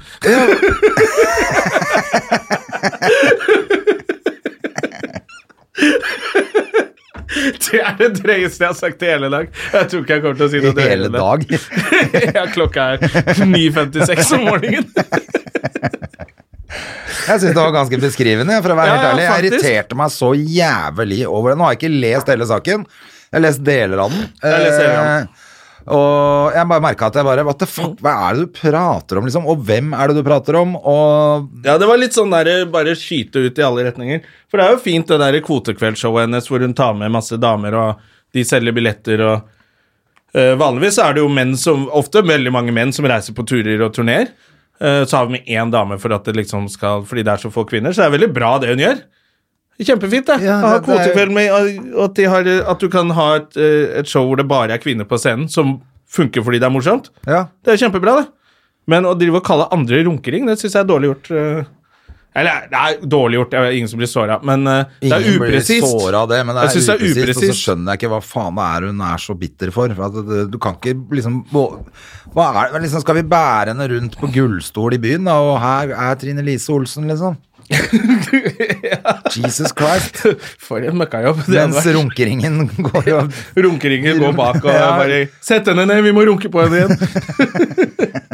Det er det drøyeste jeg har sagt i hele dag. Jeg tror ikke jeg kommer til å si noe
I hele dag.
ja, klokka er 9.56 om morgenen.
Jeg synes det var ganske beskrivende, for å være
Ja,
helt
ja,
ærlig. Jeg
faktisk.
irriterte meg så jævlig over det. Nå har jeg ikke lest hele saken. Jeg har lest deler av den.
har lest deler av den.
Eh, og jeg bare merket at jeg bare, what the fuck, hva er det du prater om, liksom? Og hvem er det du prater om? Og
Ja, det var litt sånn der, bare skyte ut i alle retninger. For det er jo fint det der kvotekveldsshowet hennes hvor hun tar med masse damer, og de selger billetter og Eh, Vanligvis er det jo menn som, ofte veldig mange menn som reiser på turer og turneer. Eh, så har vi med én dame for at det liksom skal, fordi det er så få kvinner, så det er veldig bra det hun gjør. Kjempefint, det.
Ja,
Å ha
det- det er-
kvotekveld med og at, de har, at du kan ha et, eh, et show hvor det bare er kvinner på scenen, som funker fordi det er morsomt.
ja,
Det er kjempebra, det. Men å drive og kalle andre runkering, det syns jeg er dårlig gjort. eh. Eller det er dårlig gjort, det er ingen som blir såra, men eh, det er
Ingen blir
upresist.
såret av det, men det
Jeg
er
synes det er
upresist, og så
upresist.
skjønner jeg ikke hva faen det er hun er så bitter for. for at det- du kan ikke liksom hva er, det- liksom Skal vi bære henne rundt på gullstol i byen, da, og her er Trine Lise Olsen, liksom? Jesus Christ.
For en møkkajobb. det hadde
Mens
vært.
runkeringen går og
Runkeringer går bak og
Ja.
bare Sett henne ned, vi må runke på henne igjen.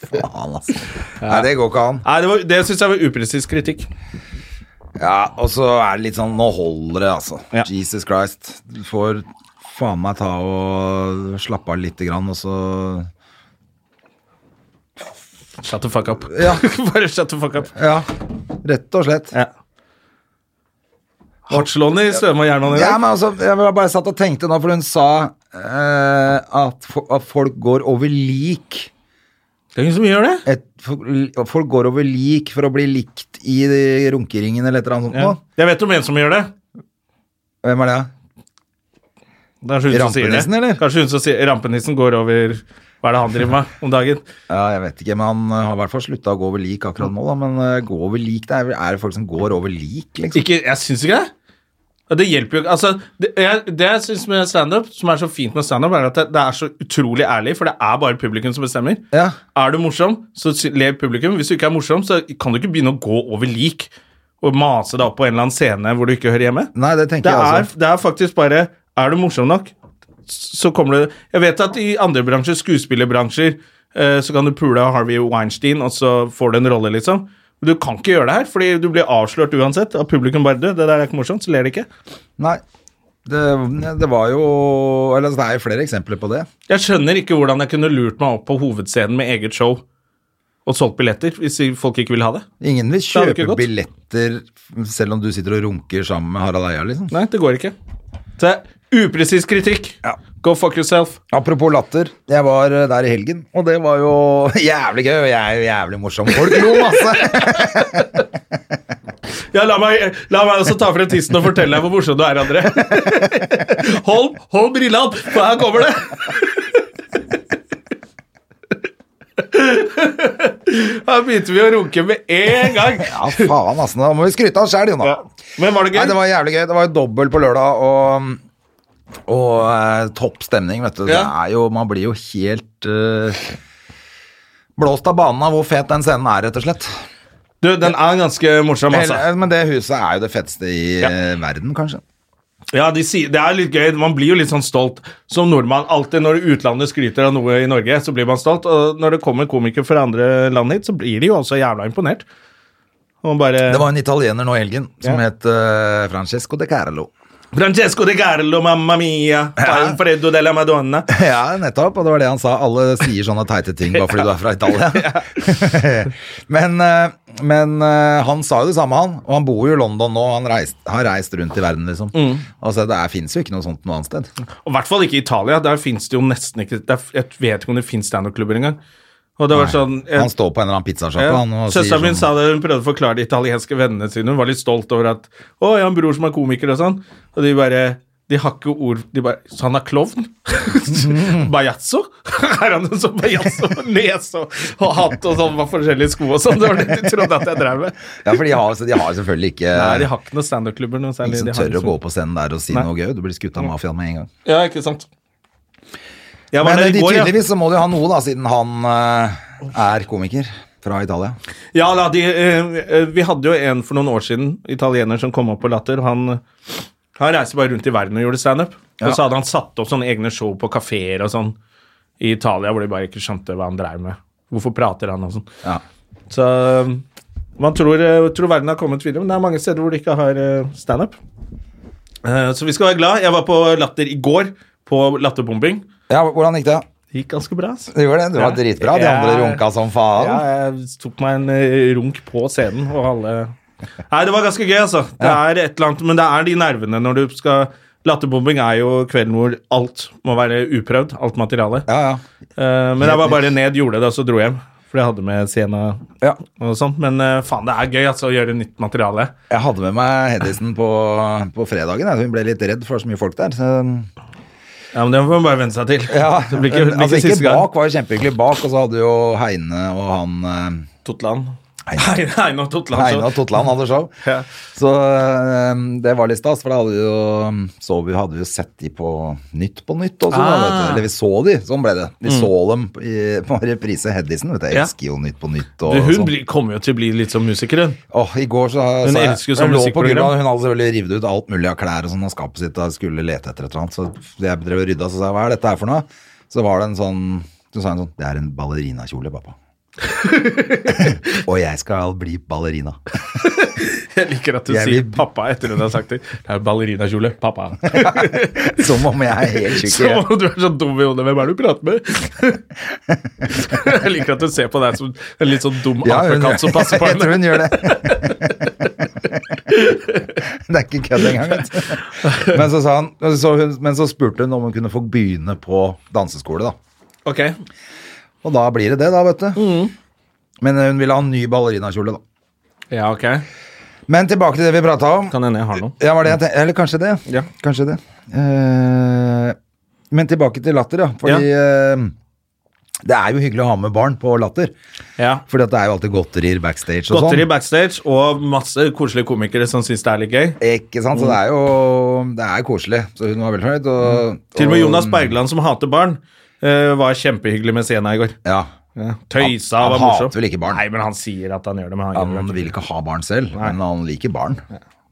Faen, altså. Nei, det går ikke an.
Nei, Det, var- det syns jeg var upresis kritikk.
Ja, og så er det litt sånn Nå holder det, altså.
Ja.
Jesus Christ. Du får faen meg ta og slappe av lite grann, og så
Shut the fuck up.
Ja.
Bare shut the fuck up.
Ja, rett og slett.
Ja. Hardtslående i Støme og Jernhånd i
Ja,
dag.
men altså, jeg var bare satt og tenkte nå, for hun sa eh, at, fo- at folk går over lik
Det er ingen som gjør det.
et, fo- Folk går over lik for å bli likt i de runkeringen eller et eller annet sånt
Ja.
nå.
Jeg vet om en som gjør det.
Hvem er det?
Det er kanskje hun som sier det.
Rampenissen, eller?
Kanskje hun som sier Rampenissen går over Hva er det han driver med om dagen?
Ja, jeg vet ikke, men han eh, har i hvert fall slutta å gå over lik akkurat nå, da. Men eh, gå over lik, det er, vel- er det folk som går over lik, liksom?
Ikke, jeg syns ikke det. Og Det hjelper jo ikke. Altså, det jeg, det jeg syns med standup, som er så fint med standup, er at det, det er så utrolig ærlig, for det er bare publikum som bestemmer.
Ja.
Er du morsom, så sy- ler publikum. Hvis du ikke er morsom, så kan du ikke begynne å gå over lik og mase deg opp på en eller annen scene hvor du ikke hører hjemme.
Nei, det tenker
Det
jeg
er,
altså.
det er faktisk bare Er du morsom nok, så kommer du Jeg vet at i andre bransjer, skuespillerbransjer, eh, så kan du pule Harvey Weinstein, og så får du en rolle, liksom. Men du kan ikke gjøre det her, fordi du blir avslørt uansett. Av publikum bare du, 'Det der er ikke morsomt', så ler de ikke.
Nei. Det, det var jo Eller altså, det er jo flere eksempler på det.
Jeg skjønner ikke hvordan jeg kunne lurt meg opp på hovedscenen med eget show og solgt billetter hvis folk ikke ville ha det.
Ingen vil
hadde ikke
kjøpe
gått.
billetter selv om du sitter og runker sammen med Harald Eia, liksom.
Nei, det går ikke. Så det er upresis kritikk.
Ja.
Go fuck yourself.
Apropos latter, jeg var eh, der i helgen, og det var jo jævlig gøy, og jeg er jo jævlig morsom. altså. Folk lo masse.
Ja, la meg, la meg også ta frem tissen og fortelle deg hvor morsom du er, André. Hold, hold brilla opp, for her kommer det! Her begynte vi å runke med en gang.
Ja, faen, altså. Da må vi skryte av oss sjæl, Jonna.
Ja. Men var det
Nei, det
gøy?
var jævlig gøy. Det var jo dobbel på lørdag, og, og eh, topp stemning, vet du. Det
Ja.
er jo, man blir jo helt eh, blåst av banen av hvor fet den scenen er, rett og slett. eh,
Du, den er ganske morsom, altså.
Hele- Men det huset er jo det feteste i
Ja.
eh, verden, kanskje.
Ja, de sier, Det er litt gøy. Man blir jo litt sånn stolt som nordmann. Alltid når utlandet skryter av noe i Norge, så blir man stolt. Og når det kommer komikere fra andre land hit, så blir de jo også jævla imponert. Og bare
Det var en italiener nå i helgen som het eh, Francesco de Carlo.
Francesco de Carlo, mamma mia, Alfredo della Madonna.
Ja, nettopp, og det var det han sa. Alle sier sånne teite ting bare fordi du er fra Italia. men, eh, men eh, han sa jo det samme, han. Og han bor jo i London nå. Han reist, har reist rundt i verden, liksom.
Mm.
Altså, det fins jo ikke noe sånt noe annet sted.
Og i hvert fall ikke i Italia. Der fins det jo nesten ikke der, Jeg vet ikke om det fins standup-klubber engang. Og det var sånn jeg-
Han står på en eller annen pizzasjappe, han.
Ja.
og sier
Søsteren min
sånn-
sa det, hun prøvde å forklare de italienske vennene sine. Hun var litt stolt over at 'Å, jeg har en bror som er komiker', og sånn. Og de bare De har ikke ord de bare, Så han er klovn? Bajazzo? er han en sånn bajazzo med nese og, og hatt og sånn, med forskjellige sko og sånn? Det var det de trodde at jeg drev med.
Ja, for de har, de har selvfølgelig ikke
Nei, de har ikke noen standup-klubber nå særlig.
Ingen som
De har
tør å
liksom-
gå på scenen der og si
Nei.
noe gøy. Du blir skutt av mafiaen med en gang.
Ja, ikke sant. Jeg var
Men
der
eh,
i
de,
går, ja.
tydeligvis så må de ha noe, da, siden han eh, er komiker fra Italia.
Ja, da, de, eh, eh, vi hadde jo en for noen år siden, italiener som kom opp på Latter. Han, han reiste bare rundt i verden og gjorde standup.
Ja.
Og så hadde han satt opp sånne egne show på kafeer og sånn i Italia, hvor de bare ikke skjønte hva han dreiv med. Hvorfor prater han og sånn.
Ja.
Så um, man tror, eh, tror verden har kommet videre, men det er mange steder hvor de ikke har eh, standup. Eh, Så vi skal være glad. Jeg var på Latter i går, på latterbombing.
ja, hvordan gikk det?
Det gikk ganske bra. altså. ass.
Du gjorde det? Du var
Ja.
dritbra. De andre
Ja.
runka som faen.
Ja, jeg tok meg en eh, runk på scenen, og alle Nei, det var ganske gøy, altså. Det er et eller annet, men det er de nervene når du skal Latterbombing er jo kvelden hvor alt må være uprøvd, alt materiale.
Ja, ja.
Eh, men jeg var bare ned, gjorde det, og så dro jeg hjem. For jeg hadde med scena
Ja.
og sånn. Men eh, faen, det er gøy altså, å gjøre nytt materiale.
Jeg hadde med meg Hedisen på, på fredagen. jeg. Hun ble litt redd for så mye folk der. Så,
Ja, men Det får man bare venne seg til. det blir ikke, det blir ikke
altså, ikke
siste gang.
bak var jo kjempehyggelig bak, og så hadde jo Heine og han eh,
Totland.
Heine.
Heine- Heine og Totland. så-
Heine og Totland hadde show.
Ja.
Så eh, det var litt stas, for da hadde, jo, så vi, hadde vi jo sett de på Nytt på Nytt også. da, vet
Ah.
du. Eller vi så de, sånn ble det. Vi så dem i, på reprise Hedisen. Vet du. Jeg
Mm. Ja.
elsker jo Nytt på Nytt. Og,
Du, hun
sånn.
blir, kommer jo til å bli litt som musikeren.
Åh, I går så
Hun
så jeg-
elsker jo sånn
jeg lå på
musikkprogram.
gulvet, Hun hadde selvfølgelig revet ut alt mulig av klær og sånn av skapet sitt og skulle lete etter et eller annet. Så jeg drev og rydda så sa jeg hva er dette her for noe? Så var det en sånn Så sa hun sånn Det er en ballerinakjole, pappa. og jeg skal bli ballerina.
Jeg liker at du
Jeg
sier
vil-
pappa etter hun har sagt det. Det er ballerinakjole. Pappa.
Som om jeg er helt tjukk i
Som
huet.
om du er så dum i hodet. Hvem er det du prater med? Jeg liker at du ser på deg som en litt sånn dum
Ja, hun,
apekatt som passer på
jeg tror
henne.
hun gjør det. det er ikke kødd engang. vet du. Men så, sa han, så hun, men så spurte hun om hun kunne få begynne på danseskole, da.
Ok.
Og da blir det det, da, vet du.
Mm.
Men eh, hun ville ha en ny ballerinakjole, da.
Ja, ok.
Men tilbake til det vi prata om.
Kan hende jeg har noen.
Ja, var det jeg tenkte. Eller kanskje det.
Ja.
Kanskje det. Eh, men tilbake til latter, ja. Fordi eh, det er jo hyggelig å ha med barn på latter.
Ja.
Fordi at det er jo alltid godterier backstage og
Godteri
sånn.
backstage og masse koselige komikere som syns det er litt gøy.
Ikke sant? Så det er jo det er koselig. Så hun var veldig fornøyd. Og,
Mm. Til og med Jonas Bergland, som hater barn, eh, var kjempehyggelig med scenen i går.
Ja.
Tøysa
Han-
var
han
morsom.
hater vel ikke barn?
Nei, men han sier at han gjør det. Men han, gjør
Han
det.
vil ikke ha barn selv, men han liker barn,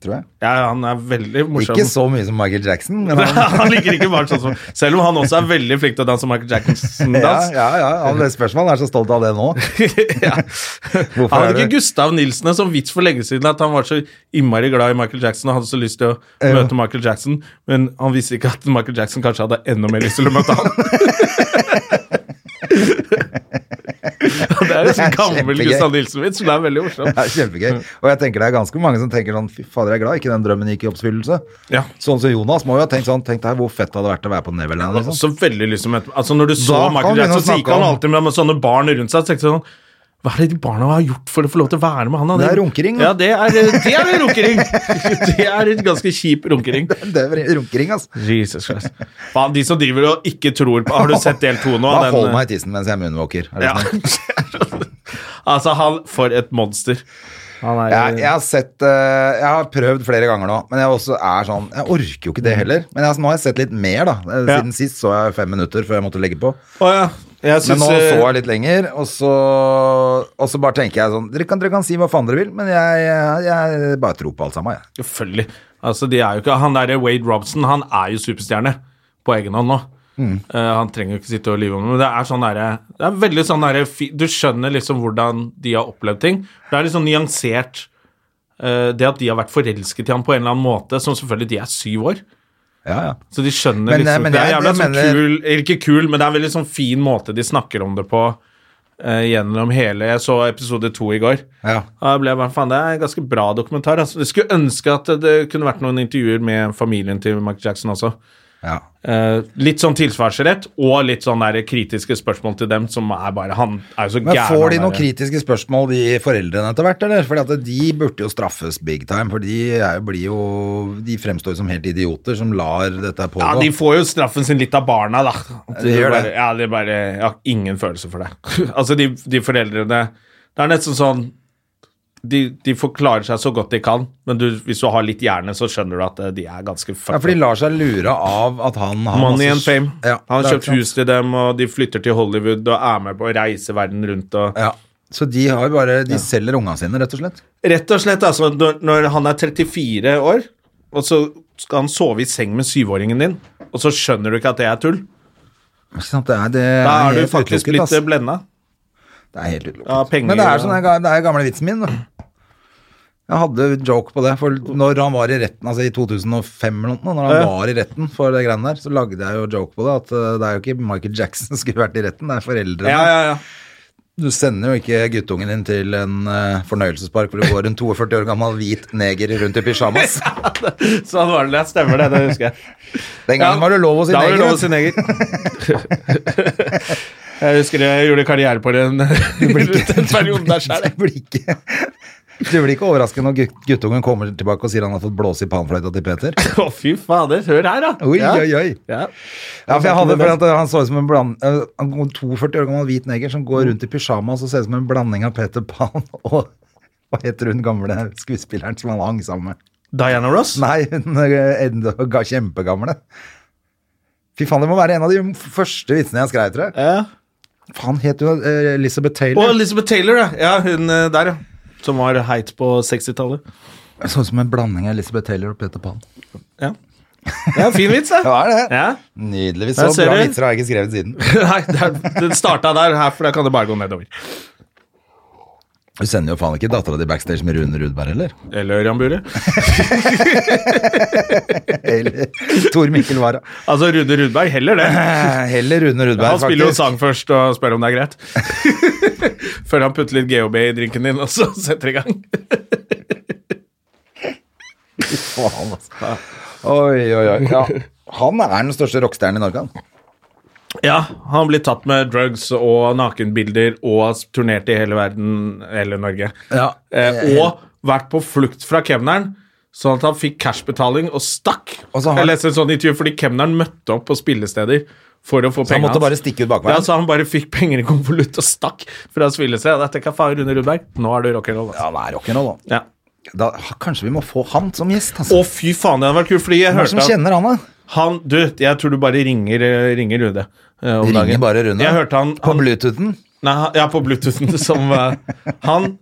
tror jeg.
Ja, han er veldig morsom.
Ikke så mye som Michael Jackson, men han
han liker ikke barn sånn som Selv om han også er veldig flink til å danse Michael
Ja,
Jackson-dans.
ja, ja. ja. Det spørsmålet er så stolt av det nå. Hvorfor
Han
er
hadde
det-
ikke Gustav Nilsen en sånn vits for lenge siden at han var så innmari glad i Michael Jackson og hadde så lyst til å møte Michael Jackson, men han visste ikke at Michael Jackson kanskje hadde enda mer lyst til å møte han. det er jo
Det er
en sånn gammel
kjempegøy.
Gustav Nilsen-vits, men det er veldig morsomt.
Det er kjempegøy. Og jeg tenker det er ganske mange som tenker sånn Fy fader, jeg er glad ikke den drømmen gikk i oppfyllelse.
Ja.
Sånn som Jonas må jo ha tenkt sånn Tenk deg hvor fett det hadde vært å være på
Han
Neverland.
hadde
Liksom.
også veldig lyst til å møte Altså Når du så
Da kan
Michael
vi begynne
Jackson,
å
så gikk han
snakke om-
alltid med, med sånne barn rundt seg og tenkte sånn Hva er det de barna har gjort for å få lov til å være med han? da?
Det er runkering, da.
Ja, det er, det er en runkering. Det er en ganske kjip runkering.
Det er vri- runkering, altså.
Jesus Christ. Faen, de som driver og ikke tror på Har du sett del to nå?
Bare
Den- eh,
hold meg i tissen mens jeg moonwalker. Er det
ja.
sånn?
Altså, han For et monster. Han er
Jeg, jeg har sett eh, Jeg har prøvd flere ganger nå, men jeg også er sånn Jeg orker jo ikke det heller. Men jeg, nå har jeg sett litt mer, da. Eh,
Mm. Ja.
Siden sist så jeg fem minutter før jeg måtte legge på.
Å ja. Jeg eh,
Men
syns
nå så jeg litt lenger, og så, og så bare tenker jeg sånn Dere kan, dere kan si hva faen dere vil, men jeg, jeg, jeg bare tror på alt sammen, jeg.
Selvfølgelig. Altså, de er jo ikke, han der Wade Robson han er jo superstjerne på egen hånd nå.
Mm.
Eh, han trenger jo ikke sitte og lyve om det, men det er sånn derre- Det er veldig sånn derre fi- Du skjønner liksom hvordan de har opplevd ting. Det er litt sånn nyansert eh, Det at de har vært forelsket i ham på en eller annen måte, som selvfølgelig De er syv år.
Ja, ja.
Så de skjønner
Men, eh,
liksom
men
Det er
jeg-
jævla
jeg
sånn
mener-
kul eller Ikke kul, men det er en veldig sånn fin måte de snakker om det på eh, gjennom hele Jeg så episode to i går.
Ja.
Da ble jeg bare Faen, det er en ganske bra dokumentar. Altså. Jeg skulle ønske at det kunne vært noen intervjuer med familien til Mark Jackson også.
ja.
Eh, litt sånn tilsvarsrett og litt sånn der kritiske spørsmål til dem som er bare Han er jo så
Men
gæren.
får de
han der.
noen kritiske spørsmål, de foreldrene etter hvert, eller? Fordi at de burde jo straffes big time, for de er jo, blir jo De fremstår jo som helt idioter som lar dette pågå.
Ja, de får jo straffen sin litt av barna, da. At
de gjør det.
Bare, ja, de bare Jeg har ingen følelse for det. altså, de, de foreldrene Det er nesten sånn de, de forklarer seg så godt de kan, men du, hvis du har litt hjerne, så skjønner du at eh, de er ganske
Ja, for de
fucked. up.
lar seg lure av at han har
Money
masse-
and fame.
Ja,
Han har
det er
kjøpt
sant.
hus til dem, og de flytter til Hollywood og er med på å reise verden rundt og
Ja. Så de har jo bare De selger unga sine, rett og slett.
Rett og slett, altså, når, når han er 34 år, og så skal han sove i seng med syvåringen din, og så skjønner du ikke at det er tull,
Ikke sant? Det er, det er,
da er
helt
du faktisk
utelukket,
blitt
ass.
eh, blenda.
Det er helt utelukket.
Ja, penger-
Men det er, sånn, den ga- det er gamle vitsen min, da. Jeg hadde joke på det, for når han var i retten, altså i 2005 eller noe, når han
Ja.
var i retten for det greiene der, så lagde jeg jo joke på det, at eh, det er jo ikke Michael Jackson som skulle vært i retten, det er foreldrene.
Ja, ja, ja.
Du sender jo ikke guttungen din til en eh, fornøyelsespark hvor det går en 42 år gammel hvit neger rundt i pysjamas.
Sånn var det, det stemmer det, det husker jeg.
Den gangen var det lov å si
Da var
neger.
det lov å si
vet
neger. jeg husker jeg gjorde karriere på den, den perioden der sjøl.
Det blir ikke Du blir ikke overrasket når gutt- guttungen kommer tilbake og sier han har fått blåse i panfløyta til Peter.
Å, fy fader. Hør her, da.
Oi,
ja.
oi, oi.
Ja.
Ja, for jeg hadde for at Han så ut som en bland, eh, han kom 42 år gammel hvit neger som går rundt i pysjamas og ser ut som en blanding av Peter Pan og hva heter hun gamle skuespilleren som han hang sammen med?
Diana Ross?
Nei, hun eh, enda ga- kjempegamle. Fy faen, det må være en av de første vitsene jeg skrev, tror jeg.
Ja.
Faen, het hun eh, Elizabeth
Og
Taylor?
Elizabeth Taylor, ja. ja hun eh, der, ja. Som var heit på 60-tallet.
Jeg så ut som en blanding av Elizabeth Taylor og Peter Pan.
Ja. ja, fin vits,
Det
da.
var det.
Ja. Der
Nydelig. Så
ser
bra
du.
vitser har jeg ikke skrevet siden.
Nei, det er- den starta der, her, for da kan det bare gå nedover.
Du sender jo faen ikke dattera di backstage med Rune Rudberg, eller?
Eller Ørjan Bure.
Eller Tor Mikkel Wara.
Altså Rune Rudberg, heller det.
Eh, Heller Rune Rudberg,
Han spiller jo en
faktisk.
sang først og spør om det er greit. Før han putter litt GHB i drinken din, og så setter i gang.
Faen, altså. Oi, oi, oi. Ja. Han er den største rockestjernen i Norge, han.
Ja, han blir tatt med drugs og nakenbilder og turnert i hele verden, hele Norge.
Ja.
Eh, og vært på flukt fra kemneren, sånn at han fikk cashbetaling og stakk.
Og så har-
Jeg leste en sånn intervju fordi kemneren møtte opp på spillesteder for å få
Så han
pengene
måtte bare stikke ut
Ja,
bakveien.
så han bare fikk penger i konvolutt og stakk fra spillestedet. Jeg tenker, faen, Rune Rudberg, nå er du rock'n'roll. Altså.
Han er rock'n'roll, han.
Ja.
Da, kanskje vi må få han som gjest, altså.
Å, fy faen, det hadde vært kult, fordi jeg
Hvem er det
hørte
som
at-
kjenner han, da?
Han, du, jeg tror du bare ringer, eh, ringer Rune. eh, om
Ringer
dagen.
bare Rune?
Jeg hørte han,
På
han
Bluetoothen?
Nei, han- ja, på Bluetoothen som eh, Han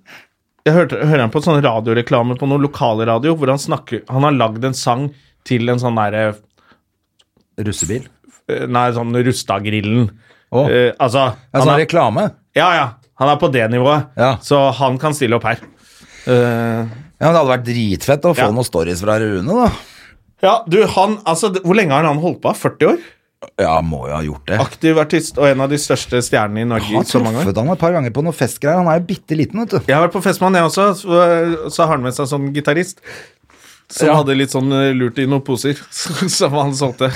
Jeg hørte, hører han på en sånn radioreklame på noen lokalradio hvor han snakker Han har lagd en sang til en sånn derre
Russebil?
Nei, sånn Rustagrillen.
Å.
Eh, altså
Ja,
han
sånn
er,
reklame?
Ja, ja. Han er på det nivået.
Ja.
Så han kan stille opp her. Eh,
Ja, men Det hadde vært dritfett å få
Ja.
noen stories fra Rune, da.
ja, du, han Altså, d- hvor lenge har han holdt på? 40 år?
Ja, må jo ha gjort det.
Aktiv artist og en av de største stjernene i Norge
Han
i
har
så mange år.
truffet han et par ganger på noen festgreier. Han er jo bitte liten, vet du.
Jeg har vært på Festmann, jeg også. Så, eh, så har han med seg sånn gitarist. Som hadde litt sånn eh, lurt i noen poser som han solgte.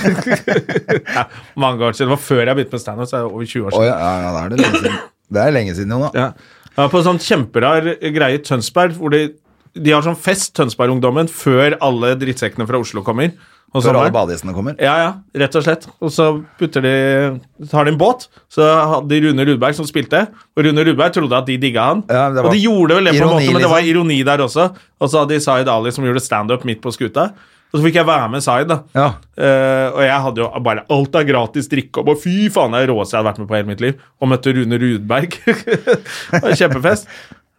ja, mange år siden. Det var før jeg begynte med standup, så er det over 20 år
Å
siden.
ja, ja, ja, det er det lenge siden. Det er lenge siden, Jonna.
Ja. Jeg var på en sånn kjemperar greie i Tønsberg, hvor de, de har sånn fest, Tønsberg-ungdommen, før alle drittsekkene fra Oslo kommer. Og
Før
sommeren.
alle badehissene kommer.
Ja, ja, rett og slett. Og så putter de, tar de en båt. Så hadde de Rune Rudberg som spilte, og Rune Rudberg trodde at de digga han.
Ja, det var
og de gjorde vel det på en
ironi,
måte, men det var
liksom.
ironi der også. Og så hadde de Zaid Ali som gjorde standup midt på skuta. Og så fikk jeg være med Zaid, da.
Ja.
Eh, og jeg hadde jo bare alt er gratis drikke og bare fy faen, det er det råeste jeg hadde vært med på hele mitt liv. Og møtte Rune Rudberg. det var en kjempefest.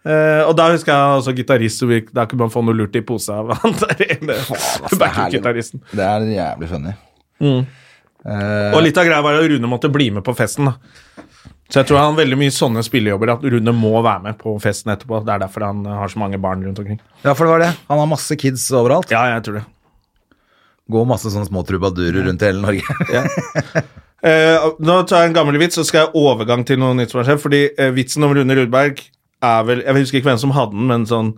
Eh, og da husker jeg også gitarist, så vi- da kunne man få noe lurt i posa av han der ene
Altså, det er herlig.
backing-gitaristen.
Det er jævlig funny.
Mm.
Eh,
Og litt av greia var at Rune måtte bli med på festen, da. Så jeg tror han har veldig mye sånne spillejobber at Rune må være med på festen etterpå. Det er derfor han har så mange barn rundt omkring.
ja, for det var det. Han har masse kids overalt.
Ja, jeg tror det.
Går masse sånne små trubadurer rundt i hele Norge.
Eh, nå tar jeg en gammel vits, så skal jeg overgang til noe nytt som har skjedd. Fordi eh, vitsen om Rune Rudberg er vel Jeg husker ikke hvem som hadde den, men sånn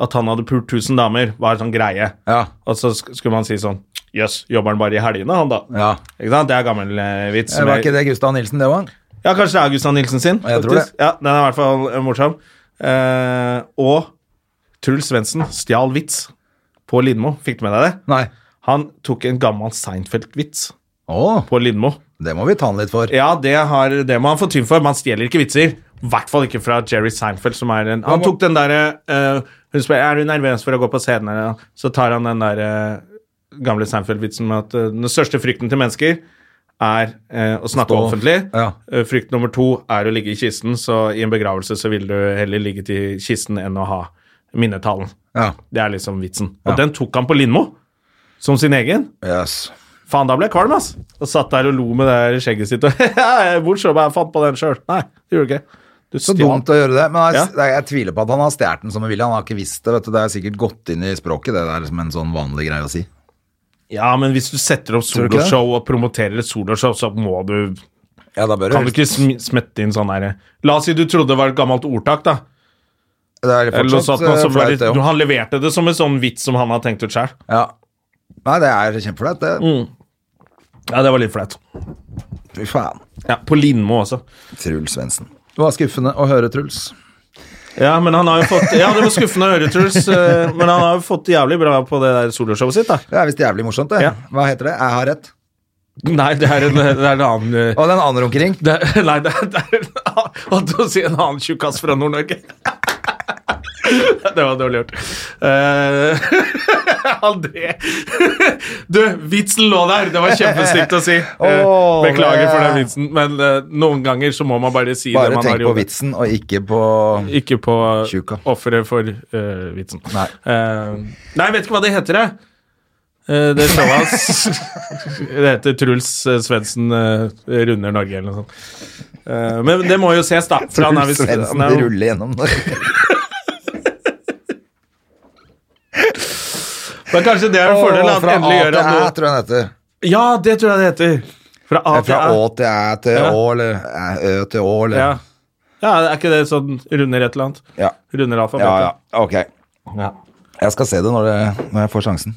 at han hadde pult 1000 damer, var en sånn greie.
ja.
Og så sk- skulle man si sånn Jøss, jobber han bare i helgene, han da?
ja.
Ikke sant? Det er gammel eh, vits.
Eh,
som
Var
jeg-
ikke det Gustav Nilsen, det òg?
Ja, kanskje det er Gustav Nilsen sin.
Jeg tror
faktisk. Ja, Den er i hvert fall eh, morsom. Eh, og Truls Svendsen stjal vits på Lindmo. Fikk du med deg det?
Nei.
Han tok en gammel Seinfeld-vits
Å,
på Lindmo.
det må vi ta han litt for.
Ja, det, har, det må han få tynn for. Man stjeler ikke vitser. I hvert fall ikke fra Jerry Seinfeld, som er en Han tok den derre eh, Hun spør er du nervøs for å gå på scenen, eller Så tar han den derre gamle Seinfeld-vitsen med at eh, den største frykten til mennesker er eh, å snakke
Stå.
offentlig.
Ja.
Eh, frykt nummer to er å ligge i kisten, så i en begravelse så vil du heller ligge til kisten enn å ha minnetalen.
Ja.
Det er liksom vitsen. Og den tok han på Lindmo som sin egen.
Yes.
Faen, da ble jeg kvalm, ass. Og satt der og lo med det der skjegget sitt. Og ja, morsom, jeg fant på den sjøl. Nei, det gjorde du ikke. Du
Så
stjal-
dumt å gjøre det, men jeg,
Ja.
jeg, tviler på at han har stjålet den som en vilje. Han har ikke visst det. vet du. Det er sikkert gått inn i språket, det der som en sånn vanlig greie å si.
Ja, men hvis du setter opp
du ikke det?
soloshow og promoterer et soloshow, så må du
Ja, da bør
Kan du ikke sm- smette inn sånn herre La oss si du trodde det var et gammelt ordtak, da.
Det er
Eller noe sånt,
fortsatt
noe
eh,
som var
flaut,
litt,
det
du,
òg.
han leverte det som en sånn vits som han har tenkt ut sjøl.
Ja. Nei, det er kjempeflaut, det.
Mm. Ja, det var litt flaut.
Fy faen.
Ja, på Lindmo også.
Truls Svendsen. Det var skuffende å høre, Truls.
Ja, men han har jo fått Ja, det var skuffende å høre, Truls, eh, men han har jo fått jævlig bra på det der soloshowet sitt, da.
Det er visst jævlig morsomt, det.
Ja.
Hva heter det? Jeg har rett.
Nei, det er en, det er en annen eh,
Og den andre omkring.
Det, nei, det, det er en annen- holdt på å si en annen tjukkass fra Nord-Norge. Det var dårlig gjort. Eh, André Du, vitsen lå der! Det var kjempestygt å si. Eh,
Åh,
Beklager
det-
for den vitsen, men eh, noen ganger så må man bare si det
Bare
man har
tenk på
gjort.
vitsen, og ikke på
Ikke på
Tjukka.
offeret for eh, vitsen.
Nei.
Eh, nei, jeg vet ikke hva det heter, jeg. Eh, det showet hans Det heter Truls eh, Svendsen eh, runder Norge, eller noe sånt. Eh, men det må jo ses, da. for han er
Truls
visst-
Svendsen
han er jo-
ruller gjennom Norge.
Men kanskje det er en fordel at
Fra A
endelig gjør
til Æ,
han noe
tror jeg den heter.
Ja, det tror jeg det heter. Fra A til
Fra Å
Æ.
til Æ til
Ja.
Å, eller Æ, Ø til Å, eller
Ja. ja, er ikke det sånn runder et eller annet?
Ja.
Runder alfabetet.
ja, ja. Ok.
Ja.
Jeg skal se det når, det når jeg får sjansen.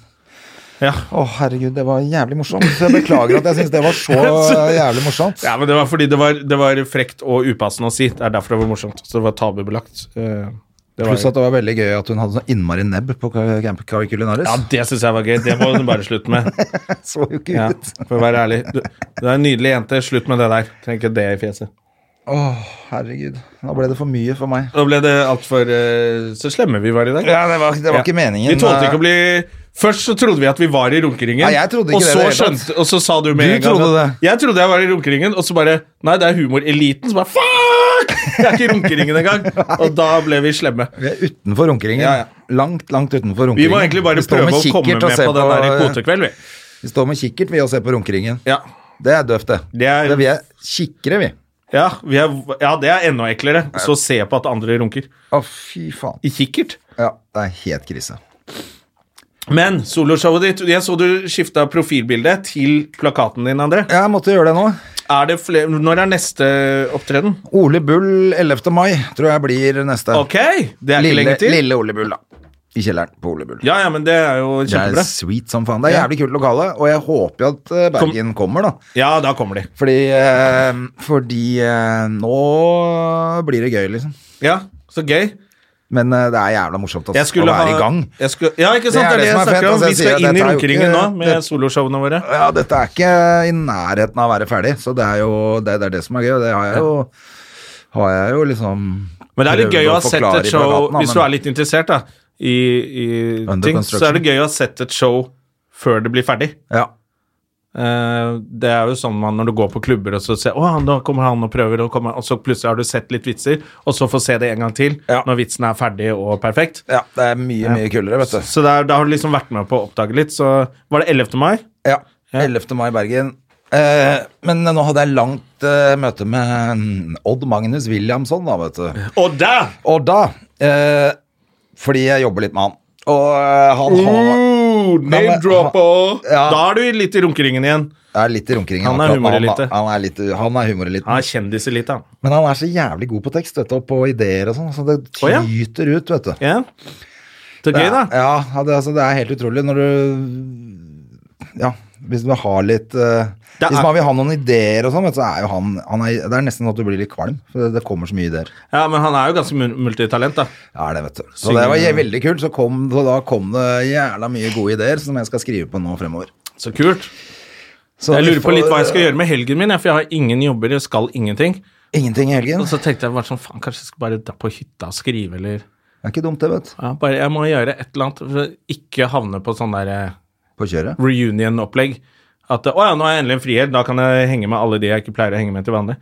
Ja.
Å, herregud, det var jævlig morsomt. Jeg beklager at jeg syns det var så jævlig morsomt.
Ja, men det var fordi det var, det var frekt og upassende å si. Det er derfor det var morsomt. Så det var tabubelagt. Eh, Det var,
Pluss at det var veldig gøy at hun hadde sånn innmari nebb på Camp Calicularis.
ja, det syns jeg var gøy. Det må du bare slutte med.
så jo ikke
Ja,
ut.
for å være ærlig. Du, du er en nydelig jente. Slutt med det der. Trenger ikke det i fjeset.
Å, herregud. Nå ble det for mye for meg.
Da ble det altfor uh, Så slemme vi var i dag.
Ja, det var, det var ikke meningen. eh,
Vi tålte ikke å bli Først så trodde vi at vi var i runkeringen,
Nei, jeg trodde ikke
og,
det i
så
det hele tatt.
skjønte, og så sa du med
Du
en gang
trodde
at- Jeg trodde jeg var i runkeringen, og så bare Nei, det er humoreliten som bare Fuck! Jeg er ikke i runkeringen engang. Og da ble vi slemme.
Vi er utenfor runkeringen.
Ja, ja.
Langt, langt
Vi
utenfor runkeringen.
må egentlig bare
Vi står
prøve å
kikkert
komme med
og ser eh,
på den der kvotekveld, vi.
Vi står med kikkert, vi, og ser på runkeringen.
Ja.
Det er døvt, det.
Det er-
Vi er kikkere, vi.
Ja, vi er, ja, det er enda eklere. Så se på at andre runker.
Å, fy faen.
I kikkert.
Ja, det er helt krise.
Men soloshowet ditt Jeg så du skifta profilbilde til plakaten din, André.
Jeg måtte gjøre det nå.
Er det fle- Når er neste opptreden?
Ole Bull 11. mai tror jeg blir neste.
Ok! Det er ikke
Lille,
lenge til.
lille Ole Bull, da. I kjelleren på Ole Bull.
Ja, ja, men det er jo
det er
kjempebra.
sweet som faen. Det er
Ja.
jævlig kult lokale, og jeg håper jo at eh, Bergen kommer, da.
Ja, da kommer de.
Fordi, eh, fordi eh, nå blir det gøy, liksom.
Ja, så gøy.
Men eh, det er jævla morsomt ass,
Jeg skulle
å være
ha
i gang.
Jeg skulle, ja, ikke sant? Det er det, jeg
som er fett,
snakker om.
altså, jeg
Vi skal
sier at
inn i
dette er jo
runkeringen nå
ikke-
med
det-
soloshowene våre.
Ja, dette er ikke i nærheten av å være ferdig, så det er jo det, det, er det som er gøy. Og det har jeg jo, har jeg jo liksom
Men det er litt
prøvd
gøy å ha sett
forklare
et
i
show
plakaten, da,
Hvis
men-
du er litt interessert da i, i
Under
ting, så
construction.
er det gøy å ha sett et show før det blir ferdig.
Ja.
Eh, det er jo sånn man, når du går på klubber og så ser Å, nå kommer han og prøver, og, kommer, han», og så plutselig har du sett litt vitser, og så får se det en gang til
Ja.
når vitsen er ferdig og perfekt.
Ja, det er mye, mye kulere, vet du.
Så der, da har du liksom vært med på å oppdage litt. Så var det 11. mai.
Ja. 11. mai i Bergen. Eh, men nå hadde jeg langt eh, møte med mm, Odd Magnus Williamson, da, vet du.
Og der!
Og da eh, Fordi jeg jobber litt med han. Og eh, han har
Name
men-
dropper!
Ja.
Da er du litt i runkeringen igjen.
er litt i runkeringen.
Han er eh.
akkurat nå.
humorelite.
Han, han er litt, han er humoreliten.
Han er kjendiselite, han.
Men han er så jævlig god på tekst vet du, og på ideer og sånn, så det
Å, ja.
tyter ut, vet du.
Ja. Det er gøy, da.
Ja, ja, det, altså, det er helt utrolig når du Ja, hvis du har litt eh,
Det er-
Hvis man vil ha noen ideer og sånn, vet du, så er jo han, han er, Det er nesten sånn at du blir litt kvalm, for det, det kommer så mye ideer.
Ja, Men han er jo ganske mul- multitalent, da.
Ja, det vet du. Så det var je- veldig kult. Så, kom, så da kom det jævla mye gode ideer som jeg skal skrive på nå fremover.
Så kult.
Så
Jeg
vi
lurer på
får-
litt hva jeg skal gjøre med helgen min, ja, for jeg har ingen jobber, jeg skal ingenting.
eh, Ingenting i helgen.
Og så tenkte jeg bare sånn, faen, kanskje jeg skal bare dra på hytta og skrive, eller
Det er ikke dumt, det, vet du.
ja, bare, Jeg må gjøre et eller annet for å ikke havne på sånn der eh,
På kjøret.
reunion-opplegg. At å ja, nå har jeg endelig en frihet, da kan jeg henge med alle de jeg ikke pleier å henge med til vanlig.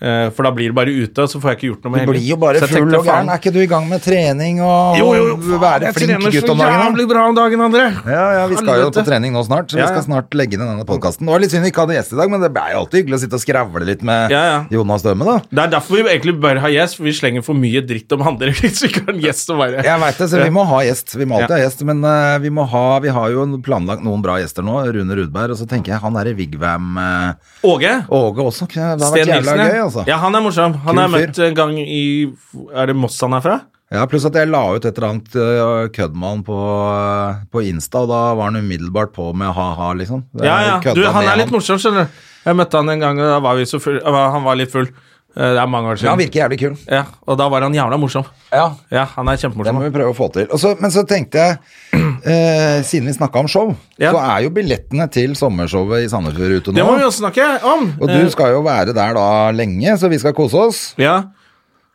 Eh, for da blir det bare ute, og så får jeg ikke gjort noe
Du
med
blir jo bare
Så jeg
full
tenkte,
og gæren.
faen,
Er ikke du i gang med trening og
Jo, jo, jo, faen,
være
jeg
flink
trener
gutt om
så
dagen?
jævlig bra om dagen, André.
Ja, ja, vi skal jo
Helvete.
på trening nå snart,
Ja,
så vi
ja.
skal snart legge ned denne podkasten. Det var litt synd vi ikke hadde gjest i dag, men det er jo alltid hyggelig å sitte og skravle litt med
Ja, ja.
Jonas Døme, da.
Det er derfor vi egentlig bør ha gjest, for vi slenger for mye dritt om andre hvis vi ikke har en gjest som bare
Jeg veit det, så vi må ha gjest. Vi må alltid
Ja.
ha gjest, men eh, vi, må ha, vi har jo planlagt noen bra gjester nå. Rune Rudberg, og så tenker jeg han derre Vigvam eh,
Åge.
Åge også. Det hadde
Sten
vært jævla
Nilsen, ja.
gøy, altså.
Ja, han er morsom. Han
Kul
har jeg
fyr.
møtt en gang i Er det Moss han er fra?
Ja, Pluss at jeg la ut et eller annet eh, kødd med han på, eh, på Insta, og da var han umiddelbart på med ha-ha, liksom. Jeg
Ja, ja.
kødda
Du, han
med
er litt morsom, skjønner du. Jeg møtte han en gang, og da var vi så full. eh, han var litt full. Eh, Det er mange år
Men
siden.
Han virker jævlig kul.
Ja, og da var han jævla morsom.
Ja,
Ja, han er
Det må
kjempemorsom.
vi prøve å få til. Og så- men så tenkte jeg, eh, siden vi snakka om show,
Ja.
så er jo billettene til sommershowet i Sandefjord ute
Det må vi
nå.
også snakke om.
Og
Eh,
du skal jo være der da lenge, så vi skal kose oss.
ja.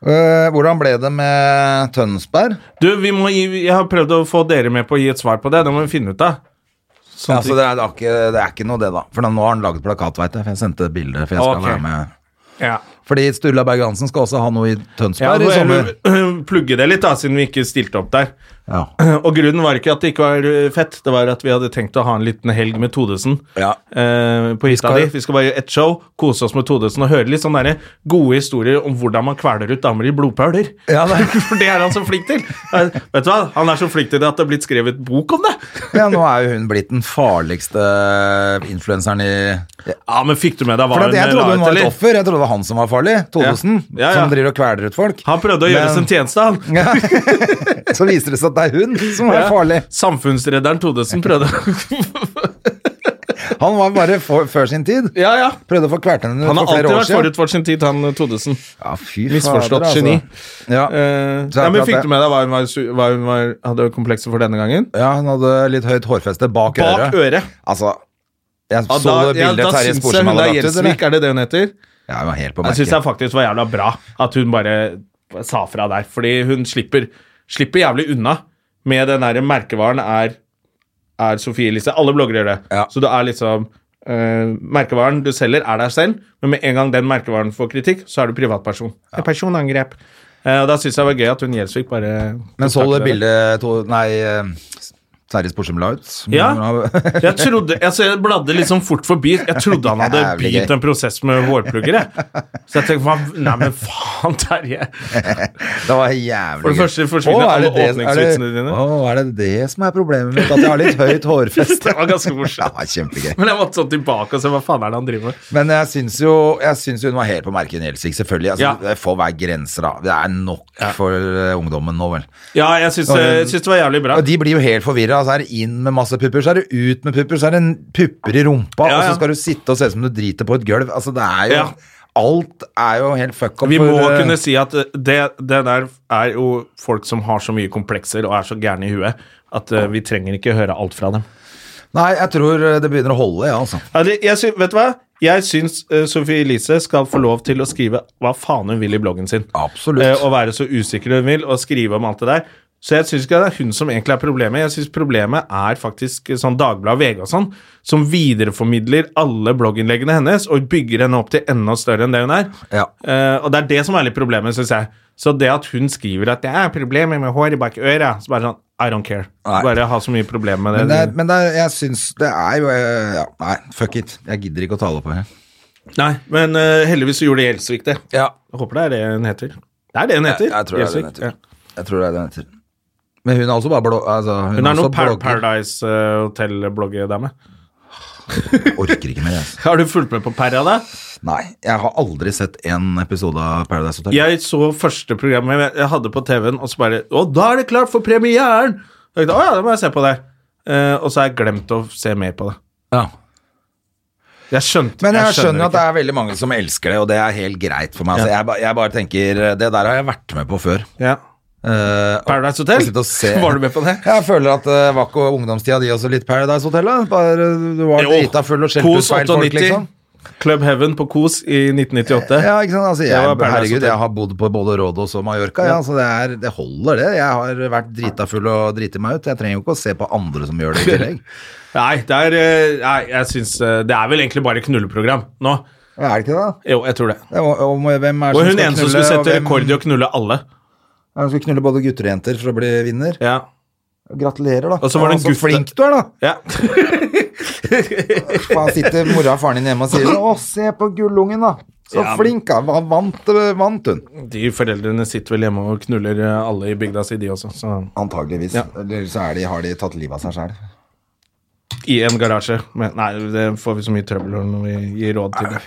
Eh, hvordan ble det med Tønsberg?
Du, vi må gi, jeg har prøvd å få dere med på å gi et svar på det. Det må vi finne ut av. Sånn
Ja, så Altså, det, er, det, er ikke, det er ikke noe, det, da. For da- nå har han laget plakat, veit jeg. For jeg sendte bilde, for jeg skal
Ok.
være med.
ja.
Fordi Sturla Berg-Hansen skal også ha noe i
Ja,
Tønsberg
nå
i
er
sommer.
det- Plugge det litt, da, siden vi ikke stilte opp der.
Ja.
Og grunnen var ikke at det ikke var eh, fett, det var at vi hadde tenkt å ha en liten helg med Todesen.
Ja.
Eh, på hytta
skal-
di. Vi skal bare gjøre ett show, kose oss med Todesen og høre litt sånne der gode historier om hvordan man kveler ut damer i blodpøler.
Ja, det er-
For det er han så flink til. Eh, vet du hva? Han er så flink til det at det er blitt skrevet bok om det.
ja, nå er jo hun blitt den farligste influenseren i
Ja, men fikk du med deg hva
For at
hun eh,
jeg
la
trodde hun
ut,
var et
eller?
offer. Jeg trodde det var han som var farlig. Todesen.
Ja, ja.
Som driver og kveler ut folk.
Han prøvde å gjøre
Men-
sin tjeneste, han.
Ja. Så viser det seg at det er hun som er
Ja.
farlig.
Samfunnsredderen Todesen prøvde
Han var bare for, før sin tid.
Ja, ja.
Prøvde å få kvalt henne
Han har
ut for flere
alltid
år
vært
siden.
forut for sin tid, han eh, Todesen.
Ja, fy
Misforstått
fader, altså.
geni.
Ja.
Eh,
Så
ja, men
akkurat
Fikk
det.
du med deg hva hun, var, su- hva hun var, hadde komplekser for denne gangen?
ja, hun hadde litt høyt hårfeste bak,
Bak øret.
Altså,
Ja,
jeg så det bildet
da
Terje
syns jeg
Sporsem
hun
hadde
er
lagt ut.
Gjelsvik,
eller?
er det det hun heter?
Ja, hun var helt på
Jeg syns
merket.
jeg faktisk var jævla bra at hun bare sa fra der, fordi hun slipper, slipper jævlig unna med den derre merkevaren er, er Sofie Elise. Alle bloggere gjør det.
Ja.
Så du er liksom eh, Merkevaren du selger, er deg selv, men med en gang den merkevaren får kritikk, så er du privatperson. Det er Personangrep. Eh, og da syns jeg det var gøy at hun Gjelsvik bare
Men så du det
takler
bildet to, Nei, eh, Terje Sporsem la ut?
Ja.
Hun-
Jeg trodde, altså jeg bladde litt sånn fort forbi. Jeg trodde han hadde
Jævlig gøy.
begynt en prosess med vårplugger. Jeg. Så jeg tenkte hva- Nei, men faen, Terje.
Det var jævlig
For det
gøy.
første forsvinner
Å, er
alle
det det- er det-
åpningsvitsene dine.
Å, er det det som er problemet mitt? At jeg har litt høyt hårfeste?
Det var ganske
Ja,
morsomt.
det var kjempegøy.
Men jeg måtte sånn tilbake og se hva faen er det han driver med.
Men jeg syns jo, jeg syns jo hun var helt på merket, Gjelsvik. Selvfølgelig. Altså,
Ja.
Det får være grenser, da. Det er nok for eh, ungdommen nå, vel.
Ja, jeg syns, jeg syns det var jævlig bra.
Og de blir jo helt forvirra. Så er det inn med masse pupper, så er det ut med pupper, så er det en pupper i rumpa,
Ja,
og
ja.
så skal du sitte og se ut som du driter på et gulv. Altså, det er jo
Ja.
Alt er jo helt fuck up
Vi må
for, eh,
kunne si at det, det der er jo folk som har så mye komplekser og er så gærne i huet at eh, vi trenger ikke høre alt fra dem.
Nei, jeg tror eh, det begynner å holde, ja, altså.
Ja, det- Jeg syns, vet du hva? Jeg syns eh, Sophie Elise skal få lov til å skrive hva faen hun vil i bloggen sin.
Absolutt.
Eh, Å være så usikker hun vil, og skrive om alt det der. Så jeg syns ikke det er hun som egentlig er problemet. Jeg syns problemet er faktisk sånn Dagbladet, VG og sånn, som videreformidler alle blogginnleggene hennes og bygger henne opp til enda større enn det hun er.
Ja.
Eh, og det er det som er litt problemet, syns jeg. Så det at hun skriver at det er problemer med håret bak øret, så bare sånn I don't care.
Nei.
Bare ha så mye problemer med det.
Men, det, er- men det, er- jeg syns det er jo eh, ja, Nei, fuck it. Jeg gidder ikke å tale på det.
Nei, men eh, heldigvis så gjorde Gjelsvik det.
Ja.
Jeg håper det er det hun heter. Det er det hun heter.
Jeg, jeg tror det er det den
Gjelsvik,
heter.
ja.
Jeg tror det er det den heter. Men hun er også bare blå... Altså, hun,
Hun er
også
noe par
blogger.
Paradise eh, Hotel-bloggedame.
Jeg Orker ikke mer, jeg. altså.
Har du fulgt med på Perra, da?
Nei, jeg har aldri sett en episode av Paradise Hotel.
Jeg så første programmet jeg- jeg hadde på TV-en, og så bare Å, da er det klart for premieren! Og jeg tenkte, Å ja, da må jeg se på det. Eh, og så har jeg glemt å se mer på det.
Ja.
Jeg skjønte
Men jeg skjønner
ikke.
at det er veldig mange som elsker det, og det er helt greit for meg. Altså, jeg, ba- jeg bare tenker eh, Det der har jeg vært med på før.
Ja.
Eh,
Paradise Hotel?
og sitte og se-
Var du med på det?
Jeg føler at eh, var ikke ungdomstida di også litt Paradise Hotel? da? Bare, du var drita full og skjelte ut
Kos
feil folk,
98.
liksom?
Club Heaven på Kos i 1998.
Ja, ikke sant? Altså,
Det var
jeg,
Paradise
herregud,
Hotel.
jeg har bodd på både Rådås og Mallorca. Ja. altså, det, er, det holder, det. Jeg har vært drita full og driti meg ut. Jeg trenger jo ikke å se på andre som gjør det i tillegg.
Nei, det er, eh, nei, jeg synes, eh, det er vel egentlig bare knulleprogram nå.
Er det ikke det? da?
Jo, jeg tror det.
Det er jo- om hvem er det
Og hun ene
skal
som
knulle,
skulle
og
sette
hvem-
rekord i å knulle alle.
Ja, Hun skulle knulle både gutter og jenter for å bli vinner.
Ja.
Gratulerer, da.
Og så var det en
Ja,
gutt-
flink du er, da!
ja.
Faen, sitter mora og faren din hjemme og sier sånn, 'Å, se på gullungen, da'. Så
Ja, men-
flink, da. Han Vant, vant hun.
De foreldrene sitter vel hjemme og knuller eh, alle i bygda si, de også. Så.
Antageligvis. Eller så er de, har de tatt livet av seg sjæl.
I en garasje. Men nei, det får vi så mye trøbbel når vi gir råd til det.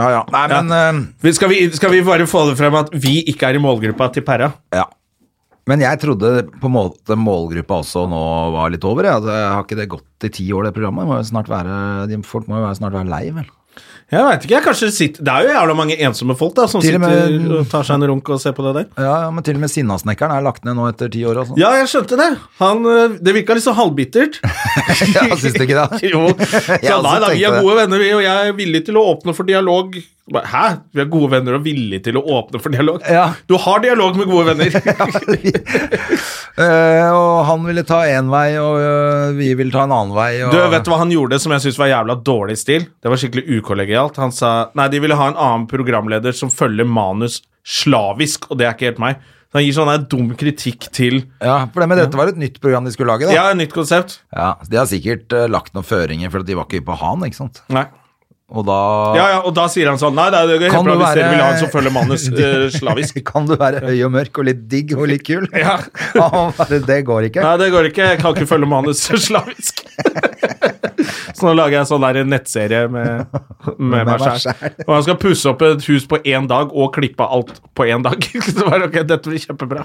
Ja, ja. Nei,
Ja.
men eh,
Vi- Skal vi, skal vi bare få det frem at vi ikke er i målgruppa til Perra?
Ja. Men jeg trodde på en måte målgruppa også nå var litt over. Jeg, Altså, jeg har ikke det gått i ti år, det programmet. Må jo snart være, de, folk må jo være, snart være lei, vel.
Jeg vet ikke, jeg kanskje sitter, Det er jo jævla mange ensomme folk da som
Til
sitter
og med-
og tar seg en runk og ser på det der.
Ja, ja, men til og med Sinnasnekkeren er lagt ned nå etter ti år. Altså.
Ja, jeg skjønte det. Han, øh, det virka litt så halvbittert.
Ja, syns du ikke det?
jo. Så,
Jeg også
nei, da, vi
tenkte
er
det.
gode venner, vi, og jeg er villig til å åpne for dialog. Bare, Hæ? Vi er gode venner og villig til å åpne for dialog?
Ja.
Du har dialog med gode venner.
Eh, og han ville ta én vei, og eh, vi ville ta en annen vei. Og...
Du, vet du hva han gjorde som jeg synes var jævla dårlig stil? Det var skikkelig ukollegialt. Han sa Nei, de ville ha en annen programleder som følger manus slavisk, og det er ikke helt meg. Så han gir sånn her dum kritikk til
Ja, for det med dette var et nytt program de skulle lage, da.
Ja, et nytt konsept.
Ja, De har sikkert eh, lagt noen føringer, for at de var ikke på han, ikke sant.
Nei.
Og da
Ja, ja, og da sier han sånn Nei, det er helt
Kan
bra
du
hvis
være-
dere vil ha en som følger manus eh, slavisk.
kan du være høy og mørk og litt digg og litt kul.
Ja.
bare, det går ikke.
Nei, det går ikke. Jeg kan ikke følge manus slavisk. Så nå lager jeg en sånn der nettserie med, med,
Med
meg
meg
sjæl.
selv.
Og han skal pusse opp et hus på én dag og klippe av alt på én dag. Så bare, ok, dette blir kjempebra.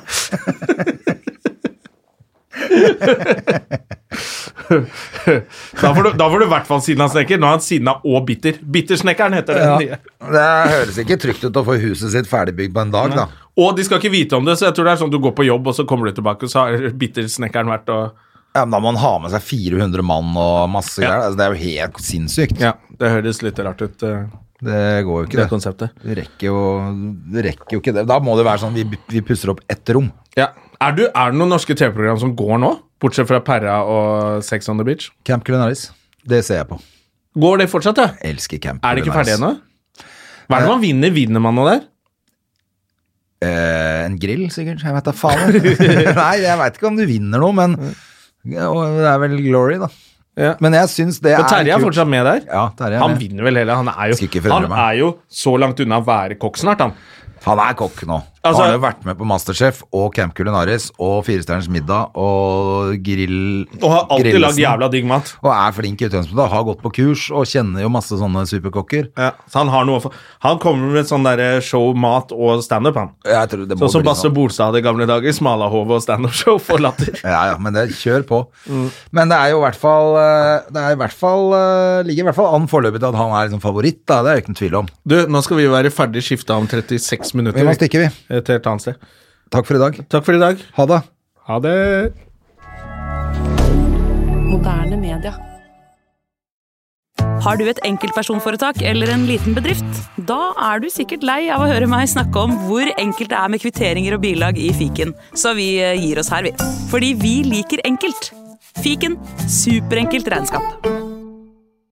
da får du- da får du i hvert fall sinna snekker. Nå er han sinna og bitter. Bittersnekkeren heter det. nye.
Det høres ikke trygt ut å få huset sitt ferdigbygd på en dag, da.
Og de skal ikke vite om det, så jeg tror det er sånn du går på jobb, og så kommer du tilbake, og så har bittersnekkeren vært og
Ja, men da må man ha med seg 400 mann og masse greier. Altså, det er jo helt sinnssykt.
Ja, det høres litt rart ut, eh,
Det går jo
det
ikke, det.
konseptet.
Det rekker jo, det rekker jo ikke det. Da må det være sånn vi, vi pusser opp ett rom.
Ja. Er, du, er det noen norske TV-program som går nå? Bortsett fra Perra og Sex on the Beach.
Camp Culinaris. Det ser jeg på.
Går det fortsatt, ja?
Elsker Camp
Er det ikke ferdig
Culinaris.
ennå? Hva er det man vinner? Vinner man noe der?
Eh, en grill, sikkert. Jeg vet da faen. Nei, jeg veit ikke om du vinner noe, men ja, og det er vel glory, da.
Ja.
Men jeg syns det
Men Terje
er
er
kult.
fortsatt med der.
Ja, Terje er
han
med.
vinner vel hele. Han er jo,
Skal ikke
han
forundre meg.
er jo så langt unna å være kokk snart, han.
Han er kokk nå.
Altså-
han har jo vært med på Masterchef og Camp Culinaris og Firestjerners middag og grill...
Og har alltid
grillesen.
lagd jævla digg mat.
Og er flink i utgangspunktet, har gått på kurs og kjenner jo masse sånne superkokker.
Ja, så han har noe for, Han kommer med sånn derre show, mat og standup, han.
Jeg tror det må
Sånn som
bli
Basse Bolstad hadde i gamle dager. Smalahove og standup-show for latter.
Ja, ja, men det kjør på.
Mm.
Men det er jo i hvert fall eh, Det er i hvert fall, eh, ligger i hvert fall an foreløpig til at han er liksom favoritt, da. Det er jo ikke noen tvil om.
Du, nå skal vi være ferdig skifta om 36 minutter.
Vi må stikke, vi.
Eh, Et helt annet sted.
Takk for i dag.
Takk for i dag.
Ha det.
Ha det.
Moderne media.
Har du et enkeltpersonforetak eller en liten bedrift? Da er du sikkert lei av å høre meg snakke om hvor enkelt det er med kvitteringer og bilag i fiken, så vi eh, gir oss her, vi. Fordi vi liker enkelt. Fiken superenkelt regnskap.